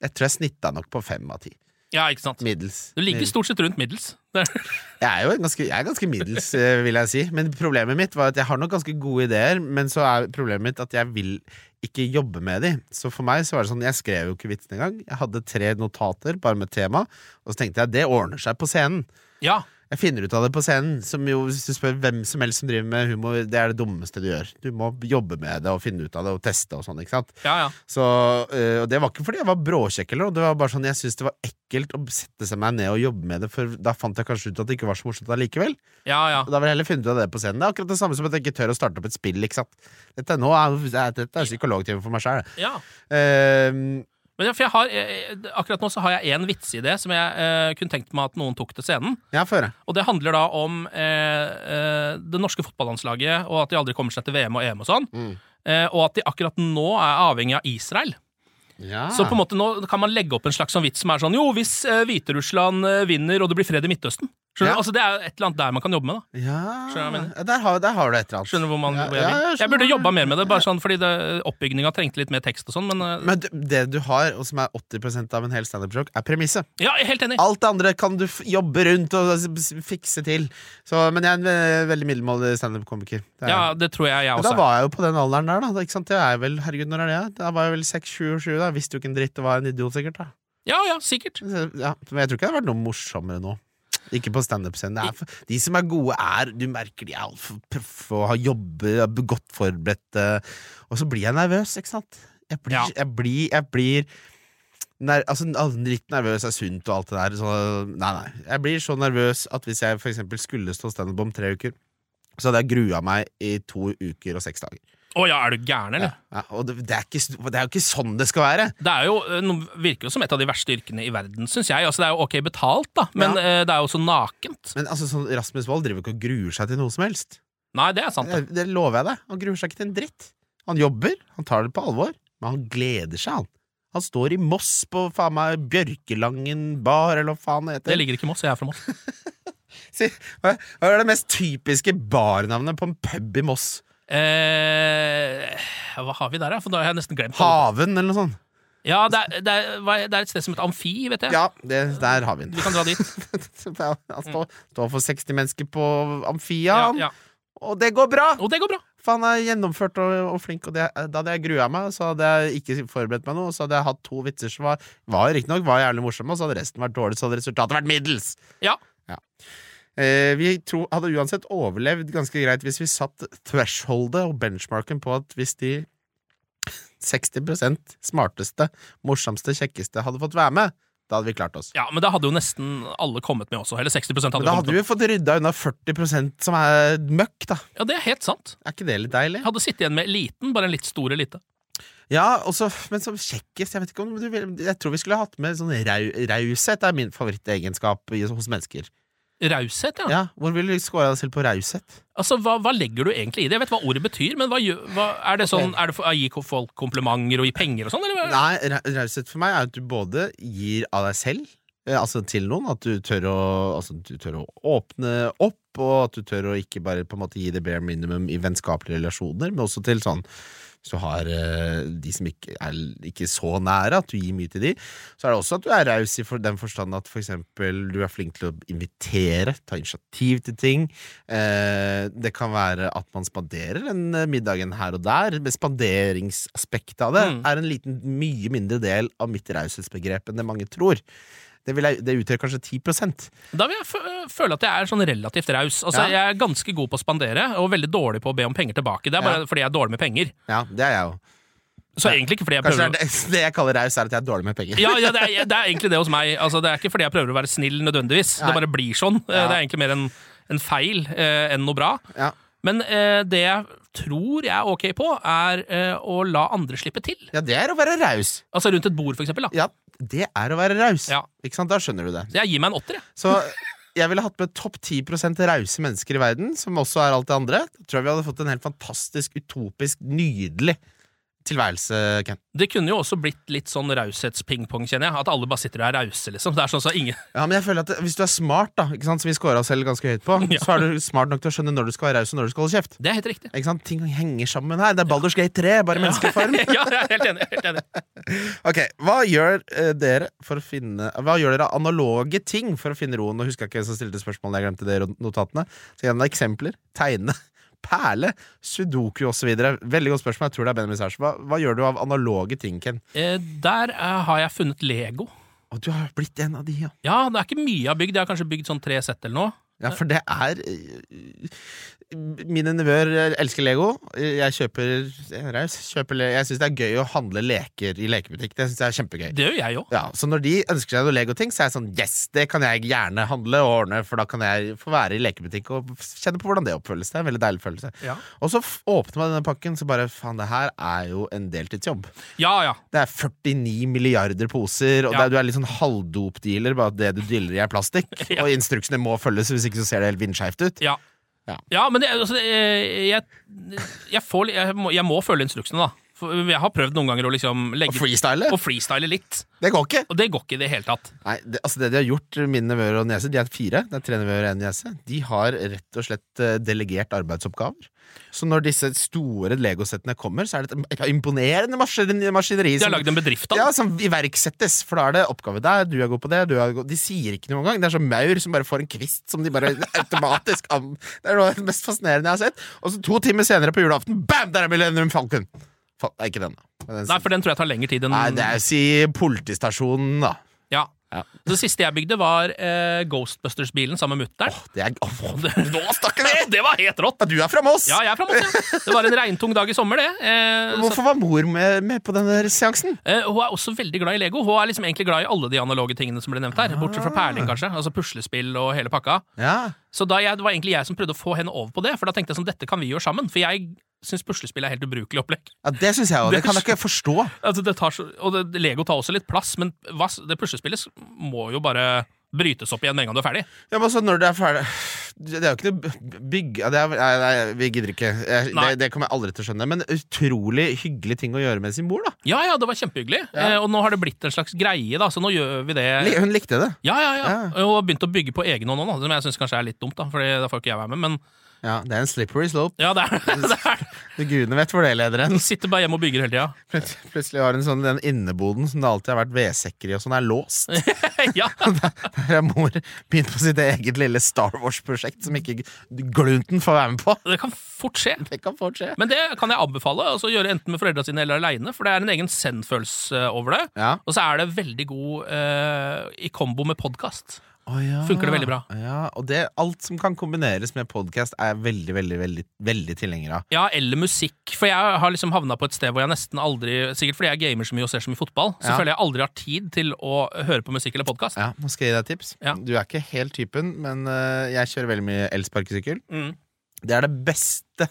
[SPEAKER 2] Jeg tror jeg snitta nok på fem av ti.
[SPEAKER 3] Ja, ikke sant?
[SPEAKER 2] Middels.
[SPEAKER 3] Du ligger
[SPEAKER 2] Middels.
[SPEAKER 3] stort sett rundt middels. Det er-
[SPEAKER 2] Jeg er jo en ganske, jeg er ganske middels, eh, vil jeg si. Men problemet mitt var at jeg har nok ganske gode ideer, men så er problemet mitt at jeg vil ikke jobbe med de. Så for meg så var det sånn, jeg skrev jo ikke vitsen engang. Jeg hadde tre notater bare med tema, og så tenkte jeg det ordner seg på scenen.
[SPEAKER 3] Ja,
[SPEAKER 2] Jeg finner ut av det på scenen. Som jo, hvis du spør hvem som helst som driver med humor, det er det dummeste du gjør. Du må jobbe med det og finne ut av det og teste og sånn. ikke sant?
[SPEAKER 3] ja, ja.
[SPEAKER 2] Så, øh, og det var ikke fordi jeg var bråkjekk, eller noe. Det var bare sånn, jeg syntes det var ekkelt å sette seg meg ned og jobbe med det, for da fant jeg kanskje ut at det ikke var så morsomt allikevel.
[SPEAKER 3] ja, ja.
[SPEAKER 2] Og da vil jeg heller finne ut av det på scenen. Det er akkurat det samme som at jeg ikke tør å starte opp et spill, ikke sant. Dette, er nå er, dette er psykologtime for meg sjæl.
[SPEAKER 3] ja.
[SPEAKER 2] Uh,
[SPEAKER 3] Men ja, for jeg har, eh, akkurat nå så har jeg én vitseidé som jeg eh, kunne tenkt meg at noen tok til scenen.
[SPEAKER 2] ja, få høre.
[SPEAKER 3] Og det handler da om eh, eh, det norske fotballandslaget, og at de aldri kommer seg til VM og EM og sånn.
[SPEAKER 2] Mm.
[SPEAKER 3] Eh, og at de akkurat nå er avhengig av Israel.
[SPEAKER 2] Ja.
[SPEAKER 3] Så på en måte nå kan man legge opp en slags sånn vits som er sånn Jo, hvis eh, Hviterussland eh, vinner og det blir fred i Midtøsten, Skjønner
[SPEAKER 2] Ja.
[SPEAKER 3] du? Altså, det er jo et eller annet der man kan jobbe med. da
[SPEAKER 2] Ja,
[SPEAKER 3] Skjønner du hva jeg mener?
[SPEAKER 2] ja, der, har, der har du et eller annet.
[SPEAKER 3] Skjønner du hvor man
[SPEAKER 2] Ja,
[SPEAKER 3] hvor jeg
[SPEAKER 2] ja,
[SPEAKER 3] vil?
[SPEAKER 2] jeg skjønner.
[SPEAKER 3] Jeg burde jobba mer med det, bare sånn fordi det- oppbygninga trengte litt mer tekst og sånn, men eh,
[SPEAKER 2] Men du- det du har, og som er 80 av en hel standup-joke, er premisset.
[SPEAKER 3] Ja, jeg er helt enig.
[SPEAKER 2] Alt det andre kan du f jobbe rundt og s- s- fikse til. Så, men jeg er en ve- veldig middelmådig standup-komiker. Det er jeg.
[SPEAKER 3] Ja, det tror jeg jeg
[SPEAKER 2] Men da
[SPEAKER 3] også er.
[SPEAKER 2] var jeg jo på den alderen der, da. Det- Ikke sant? Det er vel, herregud, når er det? Da var jeg vel 6-7-7, da. Visste jo ikke en dritt og var en idiot, sikkert. da
[SPEAKER 3] Ja, ja, sikkert.
[SPEAKER 2] Så, ja. Men jeg tror ikke det har vært noe morsommere nå. Ikke på standup-scenen. Det er for- De som er gode, er Du merker de er altfor proffe og har jobber, er godt forberedt. eh, Og så blir jeg nervøs, ikke sant? Jeg blir,
[SPEAKER 3] Ja.
[SPEAKER 2] jeg blir, jeg blir ner, altså, all- Litt nervøs er sunt og alt det der. Så, nei, nei. Jeg blir så nervøs at hvis jeg for eksempel skulle stå standup om tre uker, så hadde jeg grua meg i to uker og seks dager.
[SPEAKER 3] Å ja, er du gæren, eller?
[SPEAKER 2] Ja, og det, det, er ikke, s- det er jo ikke sånn det skal være!
[SPEAKER 3] Det er jo, eh, noe- virker jo som et av de verste yrkene i verden, syns jeg. Altså, det er jo ok betalt, da, men
[SPEAKER 2] Ja.
[SPEAKER 3] eh, det er jo så nakent.
[SPEAKER 2] Men altså, sånn, Rasmus Wold driver ikke og gruer seg til noe som helst.
[SPEAKER 3] Nei, det er sant.
[SPEAKER 2] Det,
[SPEAKER 3] Det.
[SPEAKER 2] det lover jeg deg. Han gruer seg ikke til en dritt. Han jobber, han tar det på alvor, men han gleder seg, han. Han står i Moss på faen meg Bjørkelangen bar, eller hva faen det
[SPEAKER 3] det
[SPEAKER 2] heter.
[SPEAKER 3] ligger ikke i Moss, jeg er fra Moss.
[SPEAKER 2] Si, hva hva er det mest typiske barnavnet på en pub i Moss?
[SPEAKER 3] Eh, hva har vi der, da? For da har jeg nesten glemt. alle.
[SPEAKER 2] Haven, eller noe sånt?
[SPEAKER 3] Ja, det er, det, er, hva er- det er et sted som heter Amfi, vet jeg.
[SPEAKER 2] Ja, det, der har vi
[SPEAKER 3] Vi
[SPEAKER 2] den.
[SPEAKER 3] kan dra dit.
[SPEAKER 2] Han står, står for 60 mennesker på Amfia,
[SPEAKER 3] Ja,
[SPEAKER 2] han.
[SPEAKER 3] ja.
[SPEAKER 2] og det går bra!
[SPEAKER 3] Og det går bra.
[SPEAKER 2] For han er gjennomført og, og flink, og det, da hadde jeg grua meg, så hadde jeg ikke forberedt meg noe, og så hadde jeg hatt to vitser som var, var riktignok var jævlig morsomme, og så hadde resten vært dårlig, så hadde resultatet vært middels!
[SPEAKER 3] Ja.
[SPEAKER 2] Eh, vi tro, hadde uansett overlevd ganske greit hvis vi satt thresholdet og benchmarken på at hvis de 60 smarteste, morsomste, kjekkeste hadde fått være med, da hadde vi klart oss.
[SPEAKER 3] ja, men da hadde jo nesten alle kommet med også. Eller 60 hadde, jo
[SPEAKER 2] Men da
[SPEAKER 3] kommet
[SPEAKER 2] hadde vi
[SPEAKER 3] med.
[SPEAKER 2] jo fått rydda unna 40 som er møkk, da.
[SPEAKER 3] Ja, det er helt sant.
[SPEAKER 2] Er ikke det litt deilig?
[SPEAKER 3] Jeg hadde sittet igjen med eliten, bare en litt stor elite.
[SPEAKER 2] Ja, også, men som kjekkest Jeg vet ikke om du vil Jeg tror vi skulle hatt med sånn rau, raushet. Det er min favorittegenskap i- hos mennesker.
[SPEAKER 3] Raushet, ja.
[SPEAKER 2] Ja, Hvor vil du score deg selv på raushet?
[SPEAKER 3] Altså, hva, hva legger du egentlig i det? Jeg vet hva ordet betyr, men hva, gjør- hva, er det sånn er det for, å Gi folk komplimenter og gi penger og sånn, eller? hva?
[SPEAKER 2] Nei, ra- raushet for meg er at du både gir av deg selv, eh, altså til noen, at du tør å, altså, du tør å åpne opp, og at du tør å ikke bare på en måte gi det bare minimum i vennskapelige relasjoner, men også til sånn hvis du har eh, de som ikke er l- ikke så nære, at du gir mye til de, så er det også at du er raus i for den forstand at for eksempel du er flink til å invitere, ta initiativ til ting. Eh, det kan være at man spanderer en eh, middag en her og der. men Spanderingsaspektet av det
[SPEAKER 3] Mm.
[SPEAKER 2] er en liten, mye mindre del av mitt raushetsbegrep enn det mange tror. Det, vil jeg, det utgjør kanskje 10
[SPEAKER 3] Da vil jeg fø- føle at jeg er sånn relativt raus. Altså, Jeg
[SPEAKER 2] Ja.
[SPEAKER 3] er ganske god på å spandere, og veldig dårlig på å be om penger tilbake. Det er bare
[SPEAKER 2] Ja.
[SPEAKER 3] fordi jeg er dårlig med penger.
[SPEAKER 2] Ja, det er jeg jo.
[SPEAKER 3] Så egentlig ikke fordi jeg
[SPEAKER 2] Kanskje det,
[SPEAKER 3] prøver å-
[SPEAKER 2] er det, det jeg kaller raus, er at jeg er dårlig med penger.
[SPEAKER 3] ja, ja, det, er, det er egentlig det hos meg. Altså, det er ikke fordi jeg prøver å være snill nødvendigvis.
[SPEAKER 2] Nei.
[SPEAKER 3] Det bare blir sånn. Eh,
[SPEAKER 2] Ja.
[SPEAKER 3] Det er egentlig mer en, en feil eh, enn noe bra.
[SPEAKER 2] Ja.
[SPEAKER 3] Men eh, det jeg tror jeg er ok på, er eh, å la andre slippe til.
[SPEAKER 2] Ja, det er å være raus.
[SPEAKER 3] Altså rundt et bord, for eksempel. Da.
[SPEAKER 2] Ja, det er å være raus.
[SPEAKER 3] Ja.
[SPEAKER 2] Ikke sant? Da skjønner du det.
[SPEAKER 3] Så jeg gir meg en åtter, jeg.
[SPEAKER 2] Så jeg ville hatt med topp 10 rause mennesker i verden, som også er alt det andre. Da tror jeg vi hadde fått en helt fantastisk, utopisk, nydelig tilværelse, Ken.
[SPEAKER 3] Det kunne jo også blitt litt sånn raushetspingpong, kjenner jeg. At alle bare sitter og er rause, liksom. Det er sånn så ingen
[SPEAKER 2] Ja, men jeg føler at Hvis du er smart, da, ikke sant, som vi scora oss selv ganske høyt på,
[SPEAKER 3] Ja.
[SPEAKER 2] så er du smart nok til å skjønne når du skal være raus, og når du skal holde kjeft.
[SPEAKER 3] Det er helt riktig.
[SPEAKER 2] Ikke sant? Ting henger sammen her. Det er Baldur's Gate 3, bare i menneskeform.
[SPEAKER 3] ja, jeg er helt enig. Helt enig.
[SPEAKER 2] Ok, Hva gjør eh, dere for å finne Hva gjør dere av analoge ting for å finne roen? Nå husker jeg ikke hvem som stilte spørsmålet, jeg glemte det i notatene. Så gjennom eksempler, tegne, perle, sudoku osv. Veldig godt spørsmål. Jeg tror det er Benjamin Sæsj. Hva, hva gjør du av analoge ting, Ken?
[SPEAKER 3] Eh, der eh, har jeg funnet Lego.
[SPEAKER 2] Å, du har blitt en av de, ja.
[SPEAKER 3] Ja, det er ikke mye jeg har bygd. Jeg har kanskje bygd sånn tre sett eller noe.
[SPEAKER 2] Ja, for det er eh, Mine nevøer eh, elsker Lego. Jeg kjøper Jeg, er raus, kjøper, le- jeg syns det er gøy å handle leker i lekebutikk. Det syns jeg er kjempegøy.
[SPEAKER 3] Det gjør jeg jo.
[SPEAKER 2] Ja, Så når de ønsker seg noen Lego-ting, så er jeg sånn Yes, det kan jeg gjerne handle og ordne, for da kan jeg få være i lekebutikk og kjenne på hvordan det oppføles. Det er en veldig deilig følelse.
[SPEAKER 3] Ja.
[SPEAKER 2] Og så f- åpner man denne pakken, så bare faen, det her er jo en deltidsjobb.
[SPEAKER 3] Ja, ja.
[SPEAKER 2] Det er 49 milliarder poser, og
[SPEAKER 3] Ja.
[SPEAKER 2] det er, du er litt sånn halvdop-dealer, bare at det du dealer i er plastikk,
[SPEAKER 3] Ja.
[SPEAKER 2] og instruksene må følges, hvis ikke så ser det helt vindskjevt ut.
[SPEAKER 3] Ja.
[SPEAKER 2] Ja.
[SPEAKER 3] Ja, men det, altså, det, eh, jeg, jeg, får, li- jeg, må, jeg må følge instruksene, da. For jeg har prøvd noen ganger å liksom legge
[SPEAKER 2] Og freestyle?
[SPEAKER 3] og freestyle litt,
[SPEAKER 2] Det går ikke!
[SPEAKER 3] og det går ikke i det hele tatt.
[SPEAKER 2] Nei, det, altså det de har gjort, mine nevøer og niese, de er fire. Det er tre nevøer og en niese. De har rett og slett eh, delegert arbeidsoppgaver. Så når disse store legosettene kommer, så er det et imponerende maskin- maskineri.
[SPEAKER 3] De har
[SPEAKER 2] som-
[SPEAKER 3] lagd en bedrift av
[SPEAKER 2] ja,
[SPEAKER 3] det.
[SPEAKER 2] som iverksettes, for da er det oppgave der, du er god på det, du er god De sier ikke noe engang. Det er som maur som bare får en kvist som de bare automatisk am- Det er noe av det mest fascinerende jeg har sett. Og så to timer senere på julaften, bam, der er Millennium Falcon! Fa nei, ikke den, da. Men den
[SPEAKER 3] Nei, for den tror jeg tar lengre tid enn
[SPEAKER 2] nei, det er si politistasjonen, da.
[SPEAKER 3] Ja.
[SPEAKER 2] Ja.
[SPEAKER 3] Det siste jeg bygde, var eh, Ghostbusters-bilen sammen med mutter'n.
[SPEAKER 2] Det er Åh, Nå snakker vi!
[SPEAKER 3] det var helt rått!
[SPEAKER 2] Ja, du er fra Moss!
[SPEAKER 3] Ja, jeg er fra Moss, ja. Det var en regntung dag i sommer, det. Eh, så,
[SPEAKER 2] Hvorfor var mor med, med på denne seansen?
[SPEAKER 3] eh, hun er også veldig glad i Lego. Hun er liksom egentlig glad i alle de analoge tingene som ble nevnt her. Bortsett fra perling, kanskje. Altså puslespill og hele pakka.
[SPEAKER 2] Ja,
[SPEAKER 3] Så da jeg, det var egentlig jeg som prøvde å få henne over på det, for da tenkte jeg sånn, dette kan vi gjøre sammen. For jeg syns puslespill er helt ubrukelig opplegg.
[SPEAKER 2] ja Det syns jeg òg. Det kan jeg ikke forstå.
[SPEAKER 3] Altså, det tar så, og det, Lego tar også litt plass, men hva, s- det puslespillet s- må jo bare brytes opp igjen med en gang du er ferdig.
[SPEAKER 2] Ja, men altså, når det er ferdig Det er jo ikke noe b- bygg... Ja, det er, nei, nei, vi gidder ikke. Jeg, det,
[SPEAKER 3] Nei.
[SPEAKER 2] det kommer jeg aldri til å skjønne. Men utrolig hyggelig ting å gjøre med sin mor, da.
[SPEAKER 3] Ja, ja, det var kjempehyggelig. Eh, og nå har det blitt en slags greie, da, så nå gjør vi det.
[SPEAKER 2] Li- Hun likte det.
[SPEAKER 3] Ja, ja, ja.
[SPEAKER 2] Ja.
[SPEAKER 3] Og har begynt å bygge på egen hånd nå, da, som jeg syns kanskje er litt dumt, da, Fordi da får ikke jeg være med. Men
[SPEAKER 2] Ja, Det er en slippery slope.
[SPEAKER 3] ja, det er det. Er.
[SPEAKER 2] Du gudene vet hvor det leder hen.
[SPEAKER 3] Du sitter bare hjemme og bygger hele tida.
[SPEAKER 2] Plut- Plutselig har hun sånn den inneboden som det alltid har vært vedsekker i, og sånn er låst.
[SPEAKER 3] ja.
[SPEAKER 2] Der er mor begynt på sitt eget lille Star Wars-prosjekt som ikke glunten får være med på.
[SPEAKER 3] Det kan fort skje.
[SPEAKER 2] Det kan fort skje.
[SPEAKER 3] Men det kan jeg anbefale. Altså Gjøre enten med foreldra sine eller aleine, for det er en egen send-følelse over det.
[SPEAKER 2] Ja.
[SPEAKER 3] Og så er det veldig god eh, i kombo med podkast.
[SPEAKER 2] Å ja.
[SPEAKER 3] Funker det veldig bra.
[SPEAKER 2] Ja, og det, alt som kan kombineres med podkast, er jeg veldig, veldig, veldig, veldig tilhenger av.
[SPEAKER 3] Ja, eller musikk. For jeg har liksom havna på et sted hvor jeg nesten aldri Sikkert fordi jeg gamer så mye og ser så mye fotball, så
[SPEAKER 2] Ja.
[SPEAKER 3] føler jeg aldri har tid til å høre på musikk eller podkast.
[SPEAKER 2] Ja, Nå skal jeg gi deg et tips.
[SPEAKER 3] Ja.
[SPEAKER 2] Du er ikke helt typen, men øh, jeg kjører veldig mye elsparkesykkel.
[SPEAKER 3] Mm.
[SPEAKER 2] Det er det beste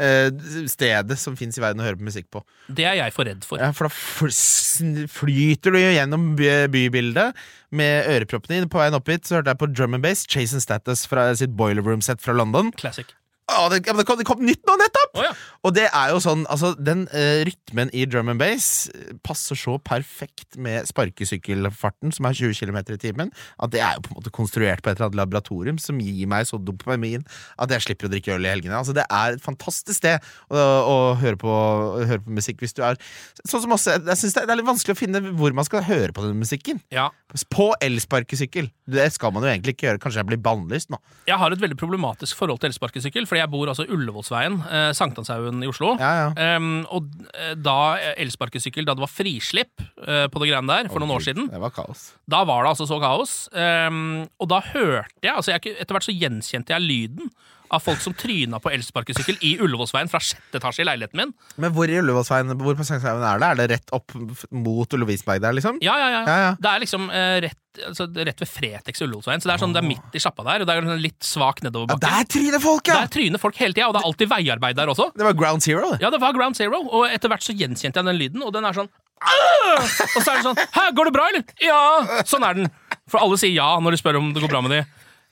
[SPEAKER 2] øh, stedet som fins i verden å høre på musikk på.
[SPEAKER 3] Det er jeg for redd for.
[SPEAKER 2] Ja, for da fl- sn- flyter du jo gjennom by bybildet med øreproppene dine. På veien opp hit så hørte jeg på drum and bass, Chase and Status fra sitt Boiler Room-sett fra London.
[SPEAKER 3] Classic.
[SPEAKER 2] Å, det, ja, men det, kom, det kom nytt nå nettopp!
[SPEAKER 3] Å ja.
[SPEAKER 2] Og det er jo sånn, altså den eh, rytmen i drum and bass eh, passer så perfekt med sparkesykkelfarten, som er 20 km i timen, at det er jo på en måte konstruert på et eller annet laboratorium som gir meg så dopamin at jeg slipper å drikke øl i helgene. Altså Det er et fantastisk sted å, å, høre, på, å høre på musikk hvis du er Sånn som også, jeg synes det, er- det er litt vanskelig å finne hvor man skal høre på den musikken.
[SPEAKER 3] Ja.
[SPEAKER 2] På elsparkesykkel! Det skal man jo egentlig ikke gjøre. Kanskje jeg blir bannlyst nå.
[SPEAKER 3] Jeg har et veldig problematisk forhold til elsparkesykkel, fordi jeg bor altså i Ullevålsveien, eh, Sankthanshaugen i Oslo.
[SPEAKER 2] Ja, ja.
[SPEAKER 3] Em, og eh, da eh, elsparkesykkel, da det var frislipp eh, på det greiene der for noen år siden,
[SPEAKER 2] Det var kaos.
[SPEAKER 3] da var det altså så kaos. Em, og da hørte jeg, altså jeg, kunne- etter hvert så gjenkjente jeg lyden av folk som tryna på elsparkesykkel i Ullevålsveien fra sjette etasje i leiligheten min.
[SPEAKER 2] Men hvor i Ullevålsveien hvor på Sankthanshaugen er det? Er det rett opp f- mot Lovisenberg der, liksom?
[SPEAKER 3] Ja, ja, ja.
[SPEAKER 2] Ja, ja.
[SPEAKER 3] Det er liksom eh, rett, altså, det er rett ved Fretex i Ullevålsveien, så det er, sånn, det er midt i sjappa der, og det er sånn litt svak
[SPEAKER 2] Ja,
[SPEAKER 3] nedoverbakke.
[SPEAKER 2] der tryner folk, ja!
[SPEAKER 3] Der tryner folk hele tida, og det er alltid veiarbeid der også.
[SPEAKER 2] Det var ground zero, det.
[SPEAKER 3] Ja, det var Ground Zero, og etter hvert så gjenkjente jeg den lyden, og den er sånn «Åh!» Og så er det sånn Hæ, går det bra, eller? Ja! Sånn er den. For alle sier ja når de spør om det går bra med de.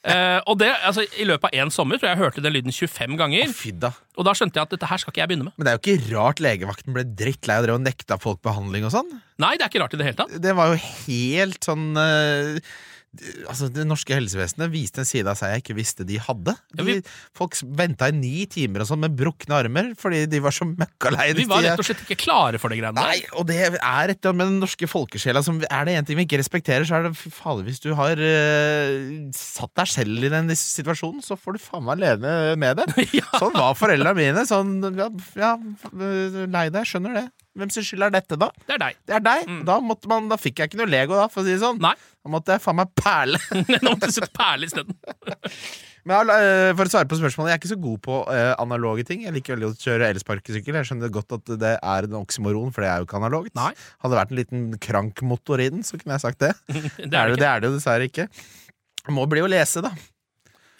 [SPEAKER 3] Eh, og det, altså, I løpet av én sommer tror jeg jeg hørte den lyden 25 ganger,
[SPEAKER 2] Fy da.
[SPEAKER 3] og da skjønte jeg at dette her skal ikke jeg begynne med.
[SPEAKER 2] Men det er jo ikke rart legevakten ble drittlei og drev og nekta folk behandling og sånn.
[SPEAKER 3] Nei, det er ikke rart i det hele tatt.
[SPEAKER 2] Det var jo helt sånn eh, Altså, Det norske helsevesenet viste en side av seg jeg ikke visste de hadde.
[SPEAKER 3] Ja,
[SPEAKER 2] De,
[SPEAKER 3] vi-
[SPEAKER 2] Folk venta i ni timer og sånn med brukne armer fordi de var så møkkalei.
[SPEAKER 3] Vi var rett og slett ikke klare for det greiene
[SPEAKER 2] Nei,
[SPEAKER 3] der.
[SPEAKER 2] og det er et eller annet med den norske folkesjela som Er det en ting vi ikke respekterer, så er det fy fader hvis du har eh, satt deg selv i den situasjonen, så får du faen meg leve med det. Sånn var foreldra mine. Sånn, ja, ja, lei deg, skjønner det. Hvem sin skyld er dette, da?
[SPEAKER 3] Det er deg.
[SPEAKER 2] Det er deg! Da, måtte man, da fikk jeg ikke noe Lego, da, for å si det sånn.
[SPEAKER 3] Nei.
[SPEAKER 2] Da måtte jeg faen meg perle.
[SPEAKER 3] Nå måtte du sette perle isteden.
[SPEAKER 2] Men jeg, eh, for å svare på spørsmålet, jeg er ikke så god på eh, analoge ting. Jeg liker veldig godt å kjøre elsparkesykkel. Jeg skjønner godt at det er en oksymoron, for det er jo ikke analogt.
[SPEAKER 3] Nei.
[SPEAKER 2] Hadde det vært en liten krankmotor i den, så kunne jeg sagt det.
[SPEAKER 3] Det
[SPEAKER 2] Det er
[SPEAKER 3] er det
[SPEAKER 2] det,
[SPEAKER 3] ikke.
[SPEAKER 2] det, er det jo dessverre ikke. Det må bli å lese, da.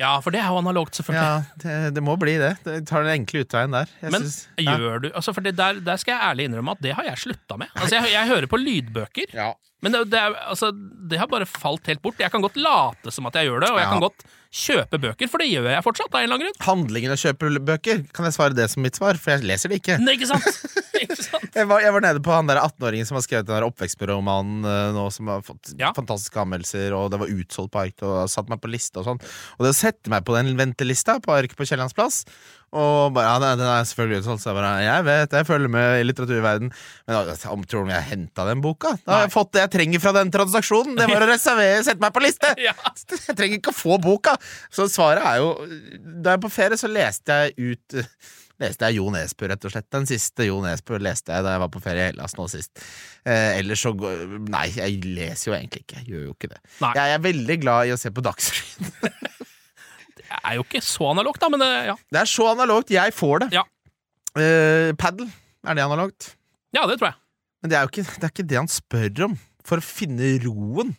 [SPEAKER 3] Ja, for det er jo analogt, selvfølgelig.
[SPEAKER 2] Ja, det, det må bli det. Det tar den enkle utveien der. Jeg
[SPEAKER 3] Men
[SPEAKER 2] synes- ja.
[SPEAKER 3] gjør du altså For det der, der skal jeg ærlig innrømme at det har jeg slutta med. Altså, jeg, jeg hører på lydbøker.
[SPEAKER 2] Ja.
[SPEAKER 3] Men det, det, er, altså, det har bare falt helt bort. Jeg kan godt late som at jeg gjør det, og jeg
[SPEAKER 2] Ja.
[SPEAKER 3] kan godt kjøpe bøker, for det gjør jeg fortsatt. av en eller annen grunn.
[SPEAKER 2] Handlingen å kjøpe bøker, kan jeg svare det som mitt svar? For jeg leser det ikke.
[SPEAKER 3] Nei, ikke sant? ikke sant?
[SPEAKER 2] Jeg var, jeg var nede på han der 18-åringen som har skrevet den der oppvekstbyråromanen eh, nå, som har fått
[SPEAKER 3] Ja.
[SPEAKER 2] fantastiske anmeldelser, og det var utsolgt på ark, og har satt meg på liste og sånn. Og det å sette meg på den ventelista på ark på Kiellands plass, og bare, ja, nei, den er selvfølgelig utsolgt, så jeg bare, jeg vet, jeg følger med i litteraturverden, men altså, om tror du jeg hentet den boka? Da har jeg fått det jeg trenger fra den transaksjonen, det var å reservere, sette meg på liste!
[SPEAKER 3] Ja.
[SPEAKER 2] Jeg trenger ikke å få boka! Så svaret er jo, da jeg er på ferie, så leste jeg ut leste jeg Jo Nesbø, rett og slett. Den siste Jo Nesbø leste jeg da jeg var på ferie i Hellas nå sist. Eh, ellers så går- Nei, jeg leser jo egentlig ikke. Jeg gjør jo ikke det.
[SPEAKER 3] Nei.
[SPEAKER 2] Jeg er veldig glad i å se på Dagsrevyen.
[SPEAKER 3] Det er jo ikke så analogt, da, men eh, ja.
[SPEAKER 2] Det er så analogt. Jeg får det.
[SPEAKER 3] Ja.
[SPEAKER 2] Eh, Paddle, er det analogt?
[SPEAKER 3] ja, det tror jeg.
[SPEAKER 2] Men det er jo ikke det, er ikke det han spør om. For å finne roen.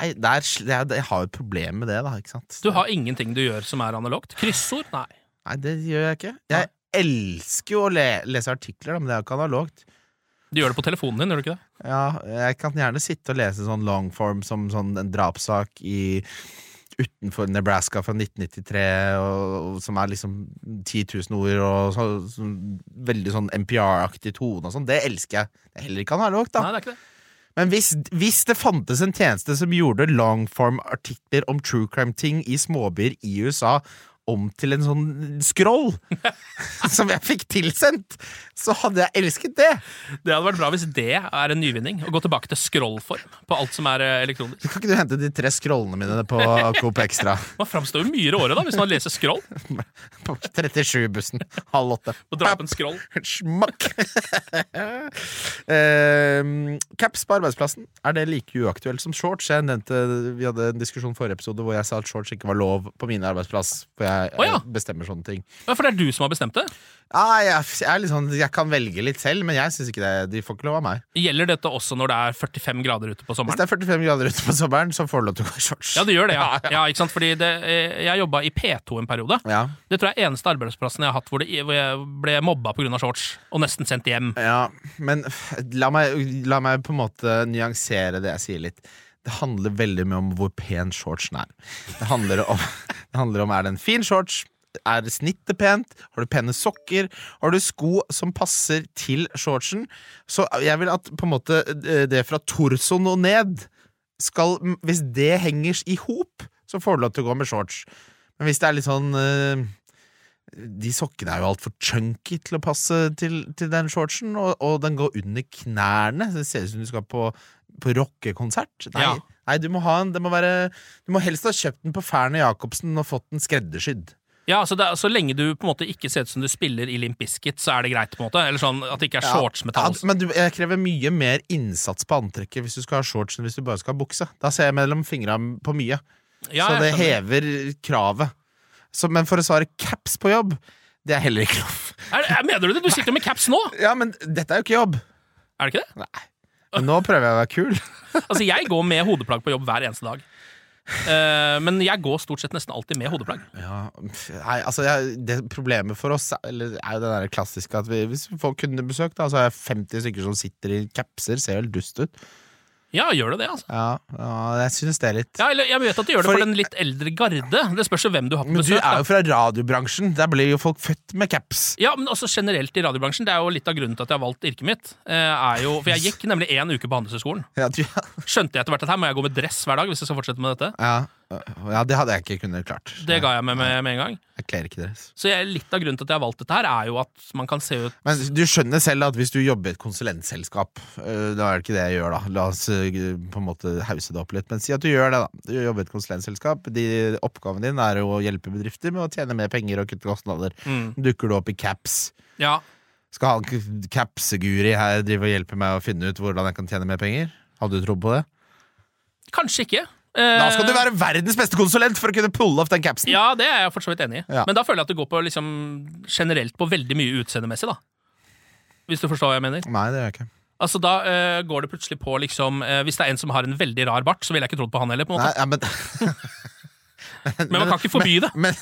[SPEAKER 2] Nei, det er, sl- det er, jeg har jo et problem med det, da. Ikke sant?
[SPEAKER 3] Du har ingenting du gjør som er analogt. Kryssord? Nei.
[SPEAKER 2] Nei, det gjør jeg ikke. Jeg elsker jo å le, lese artikler, da, men det er jo ikke analogt.
[SPEAKER 3] Du gjør det på telefonen din, gjør du ikke det?
[SPEAKER 2] Ja, jeg kan gjerne sitte og lese sånn longform som sånn en drapssak i utenfor Nebraska fra 1993, og, og, som er liksom 10 000 ord og så, så, veldig sånn NPR-aktig tone og sånn. Det elsker jeg. Det er heller ikke analogt, da.
[SPEAKER 3] Nei, det er ikke det.
[SPEAKER 2] Men hvis, hvis det fantes en tjeneste som gjorde longform-artikler om true crime-ting i småbyer i USA om til en sånn scroll som jeg fikk tilsendt, så hadde jeg elsket det.
[SPEAKER 3] Det hadde vært bra hvis det er en nyvinning. Å gå tilbake til scrollform på alt som er eh, elektronisk.
[SPEAKER 2] Kan ikke du hente de tre scrollene mine på Coop Extra?
[SPEAKER 3] Man framstår jo mye råere da hvis man leser scroll.
[SPEAKER 2] På 37-bussen halv åtte.
[SPEAKER 3] Og drar opp en scroll.
[SPEAKER 2] Smakk! Ehm, caps på arbeidsplassen, er det like uaktuelt som shorts? Jeg nevnte, Vi hadde en diskusjon forrige episode hvor jeg sa at shorts ikke var lov på min arbeidsplass. For jeg
[SPEAKER 3] Å ja.
[SPEAKER 2] eh, bestemmer sånne ting.
[SPEAKER 3] Ja, For det er du som har bestemt det?
[SPEAKER 2] Ah, jeg, jeg, er litt sånn, jeg kan velge litt selv, men jeg synes ikke det, de får ikke lov av meg.
[SPEAKER 3] Gjelder dette også når det er 45 grader ute på
[SPEAKER 2] Hvis
[SPEAKER 3] sommeren?
[SPEAKER 2] det er 45 grader ute på sommeren, så får du lov til å gå i shorts.
[SPEAKER 3] Ja, det gjør det, ja. ja ikke sant? Fordi det, eh, jeg jobba i P2 en periode.
[SPEAKER 2] Ja.
[SPEAKER 3] Det tror jeg er eneste arbeidsplassen jeg har hatt hvor, det, hvor jeg ble mobba pga. shorts og nesten sendt hjem.
[SPEAKER 2] Ja, men f- la meg, la meg på en måte nyansere det jeg sier litt. Det handler veldig mye om hvor pen shortsen er. Det handler om, det handler om er det en fin shorts, er snittet pent, har du pene sokker, har du sko som passer til shortsen. Så jeg vil at på en måte eh, det fra torsoen og ned skal Hvis det henger i hop, så får du lov til å gå med shorts. Men hvis det er litt sånn eh, de sokkene er jo altfor chunky til å passe til, til den shortsen, og, og den går under knærne. Så det ser ut som du skal på, på rockekonsert. Nei,
[SPEAKER 3] Ja.
[SPEAKER 2] nei du, må ha en, det må være, du må helst ha kjøpt den på Fernet Jacobsen og fått den skreddersydd.
[SPEAKER 3] Ja, altså det, er- Så lenge du på en måte ikke ser ut som du spiller i Limp Bizkit, så er det greit. på en måte Eller sånn at det ikke er
[SPEAKER 2] Ja,
[SPEAKER 3] shortsmetall.
[SPEAKER 2] men du, jeg krever mye mer innsats på antrekket hvis du skal ha shorts enn hvis du bare skal ha bukse. Da ser jeg mellom fingra på mye.
[SPEAKER 3] Ja,
[SPEAKER 2] så
[SPEAKER 3] jeg
[SPEAKER 2] det
[SPEAKER 3] skjønner.
[SPEAKER 2] hever kravet. Så, men for å svare caps på jobb, det er heller ikke lov.
[SPEAKER 3] Er, er, mener du det? Du sitter jo med caps nå!
[SPEAKER 2] Ja, men dette er jo ikke jobb.
[SPEAKER 3] Er det ikke det?
[SPEAKER 2] Men nå prøver jeg å være kul.
[SPEAKER 3] Altså, jeg går med hodeplagg på jobb hver eneste dag. Eh, men jeg går stort sett nesten alltid med hodeplagg.
[SPEAKER 2] Ja, pff, nei, altså jeg, det Problemet for oss er, eller, er jo det der klassiske at vi, hvis vi får kundebesøk, da, så er det 50 stykker som sitter i capser, ser helt dust ut.
[SPEAKER 3] Ja, gjør det det, altså?
[SPEAKER 2] Ja, ja jeg synes det er litt
[SPEAKER 3] Ja, eller Jeg vet at du gjør det for
[SPEAKER 2] Fordi-
[SPEAKER 3] den litt eldre garde. Det spørs jo hvem du har på
[SPEAKER 2] Men du
[SPEAKER 3] besøk.
[SPEAKER 2] er
[SPEAKER 3] da.
[SPEAKER 2] jo fra radiobransjen, der blir jo folk født med caps.
[SPEAKER 3] Ja, men også generelt i radiobransjen. Det er jo litt av grunnen til at jeg har valgt yrket mitt. Eh, er jo, for jeg gikk nemlig én uke på Handelshøyskolen.
[SPEAKER 2] Ja, du,
[SPEAKER 3] Skjønte jeg etter hvert at her må jeg gå med dress hver dag hvis jeg skal fortsette med dette.
[SPEAKER 2] ja, ja, det hadde jeg ikke kunnet klart.
[SPEAKER 3] Det ga jeg meg med med en gang.
[SPEAKER 2] Jeg kler ikke dress.
[SPEAKER 3] Så jeg, litt av grunnen til at jeg har valgt dette her, er jo at man kan se ut
[SPEAKER 2] Men du skjønner selv at hvis du jobber i et konsulentselskap øh, Da er det ikke det jeg gjør, da. La oss øh, på en måte hause det opp litt. Men si at du gjør det, da. Du jobber i et konsulentselskap. De, oppgaven din er jo å hjelpe bedrifter med å tjene mer penger og kutte kostnader. Dukker du opp i caps?
[SPEAKER 3] Ja,
[SPEAKER 2] Skal han k- capseguri her drive og hjelpe meg å finne ut hvordan jeg kan tjene mer penger? Hadde du trodd på det?
[SPEAKER 3] kanskje ikke.
[SPEAKER 2] Da skal du være verdens beste konsulent for å kunne pulle off den capsen!
[SPEAKER 3] Eh. Ja, det er jeg for så vidt enig i.
[SPEAKER 2] Ja.
[SPEAKER 3] Men da føler jeg at du går på liksom generelt på veldig mye utseendemessig, da. Hvis du forstår hva jeg mener.
[SPEAKER 2] Nei, det gjør jeg ikke.
[SPEAKER 3] Altså Da eh, går det plutselig på liksom eh, Hvis det er en som har en veldig rar bart, så ville jeg ikke trodd på han heller. på en måte
[SPEAKER 2] Nei, ja, men
[SPEAKER 3] Men man kan ikke forby det.
[SPEAKER 2] Men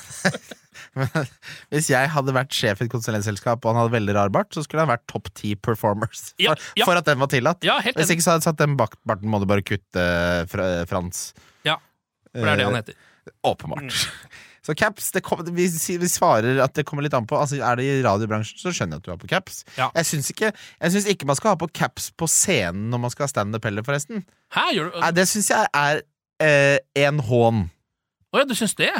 [SPEAKER 2] Men Hvis jeg hadde vært sjef i et konsulentselskap og han hadde veldig rar bart, så skulle han vært topp ti performers. For,
[SPEAKER 3] Ja, ja.
[SPEAKER 2] for at den var tillatt.
[SPEAKER 3] Ja, helt
[SPEAKER 2] Hvis
[SPEAKER 3] enig.
[SPEAKER 2] ikke så hadde jeg satt den bak barten, må du bare kutte, eh, Fra- Frans. Eh,
[SPEAKER 3] Ja, for det er det han heter. Mm.
[SPEAKER 2] Åpenbart. Så caps, det kom, vi, si- vi svarer at det kommer litt an på. Altså, er det i radiobransjen, så skjønner jeg at du har på caps.
[SPEAKER 3] Ja.
[SPEAKER 2] Jeg syns ikke, jeg synes ikke man skal ha på caps på scenen når man skal ha standup heller, forresten.
[SPEAKER 3] Hæ, gjør du
[SPEAKER 2] Nei, det syns jeg er eh, en hån.
[SPEAKER 3] Å ja, du syns det?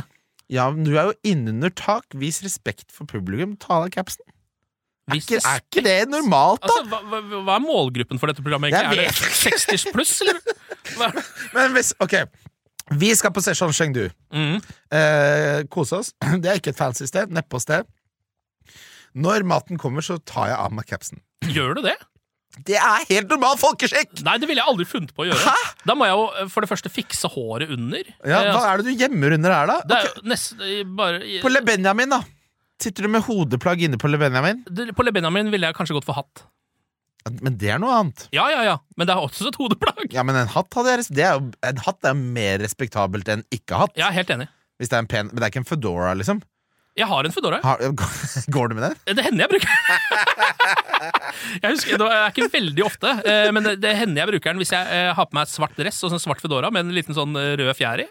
[SPEAKER 2] Ja, men du er jo innunder tak. Vis respekt for publikum. Ta av deg capsen.
[SPEAKER 3] Hvis
[SPEAKER 2] Ikke- Er ikke det normalt, da?
[SPEAKER 3] Altså, hva, hva, hva er målgruppen for dette programmet?
[SPEAKER 2] Jeg
[SPEAKER 3] egentlig?
[SPEAKER 2] vet
[SPEAKER 3] Er det 60 pluss, eller? Hva? er det?
[SPEAKER 2] Men hvis, ok Vi skal på Session Chengdu
[SPEAKER 3] Mm.
[SPEAKER 2] eh, Kose oss Det er ikke et fancy sted, neppe sted Når maten kommer så tar jeg av meg capsen
[SPEAKER 3] Gjør du det?
[SPEAKER 2] Det er helt normal folkeskikk
[SPEAKER 3] Nei, det ville jeg aldri funnet på å gjøre. Da må jeg jo eh, for det første fikse håret under.
[SPEAKER 2] ja,
[SPEAKER 3] Eh,
[SPEAKER 2] Hva
[SPEAKER 3] altså,
[SPEAKER 2] er det du gjemmer under her da?
[SPEAKER 3] det er
[SPEAKER 2] Ok,
[SPEAKER 3] jo nesten eh, bare
[SPEAKER 2] På Le Benjamin da Sitter du med hodeplagg inne på Le Benjamin?
[SPEAKER 3] Det- På Le Benjamin ville jeg kanskje gått for hatt.
[SPEAKER 2] Men det er noe annet
[SPEAKER 3] Ja, ja, ja. Men det er også et hodeplagg.
[SPEAKER 2] Ja, men en hatt, hadde jeg, res- det er jo, en hatt er jo mer respektabelt enn ikke-hatt
[SPEAKER 3] Jeg er helt enig.
[SPEAKER 2] Hvis det er en pen, men det er ikke en fedora liksom
[SPEAKER 3] Jeg har en fedora.
[SPEAKER 2] Har, Går du med den?
[SPEAKER 3] Det hender jeg bruker Jeg husker, Det er ikke veldig ofte, eh, men det- det hender jeg bruker den hvis jeg eh, har på meg svart dress og sånn svart fedora med en liten sånn eh, rød fjær i.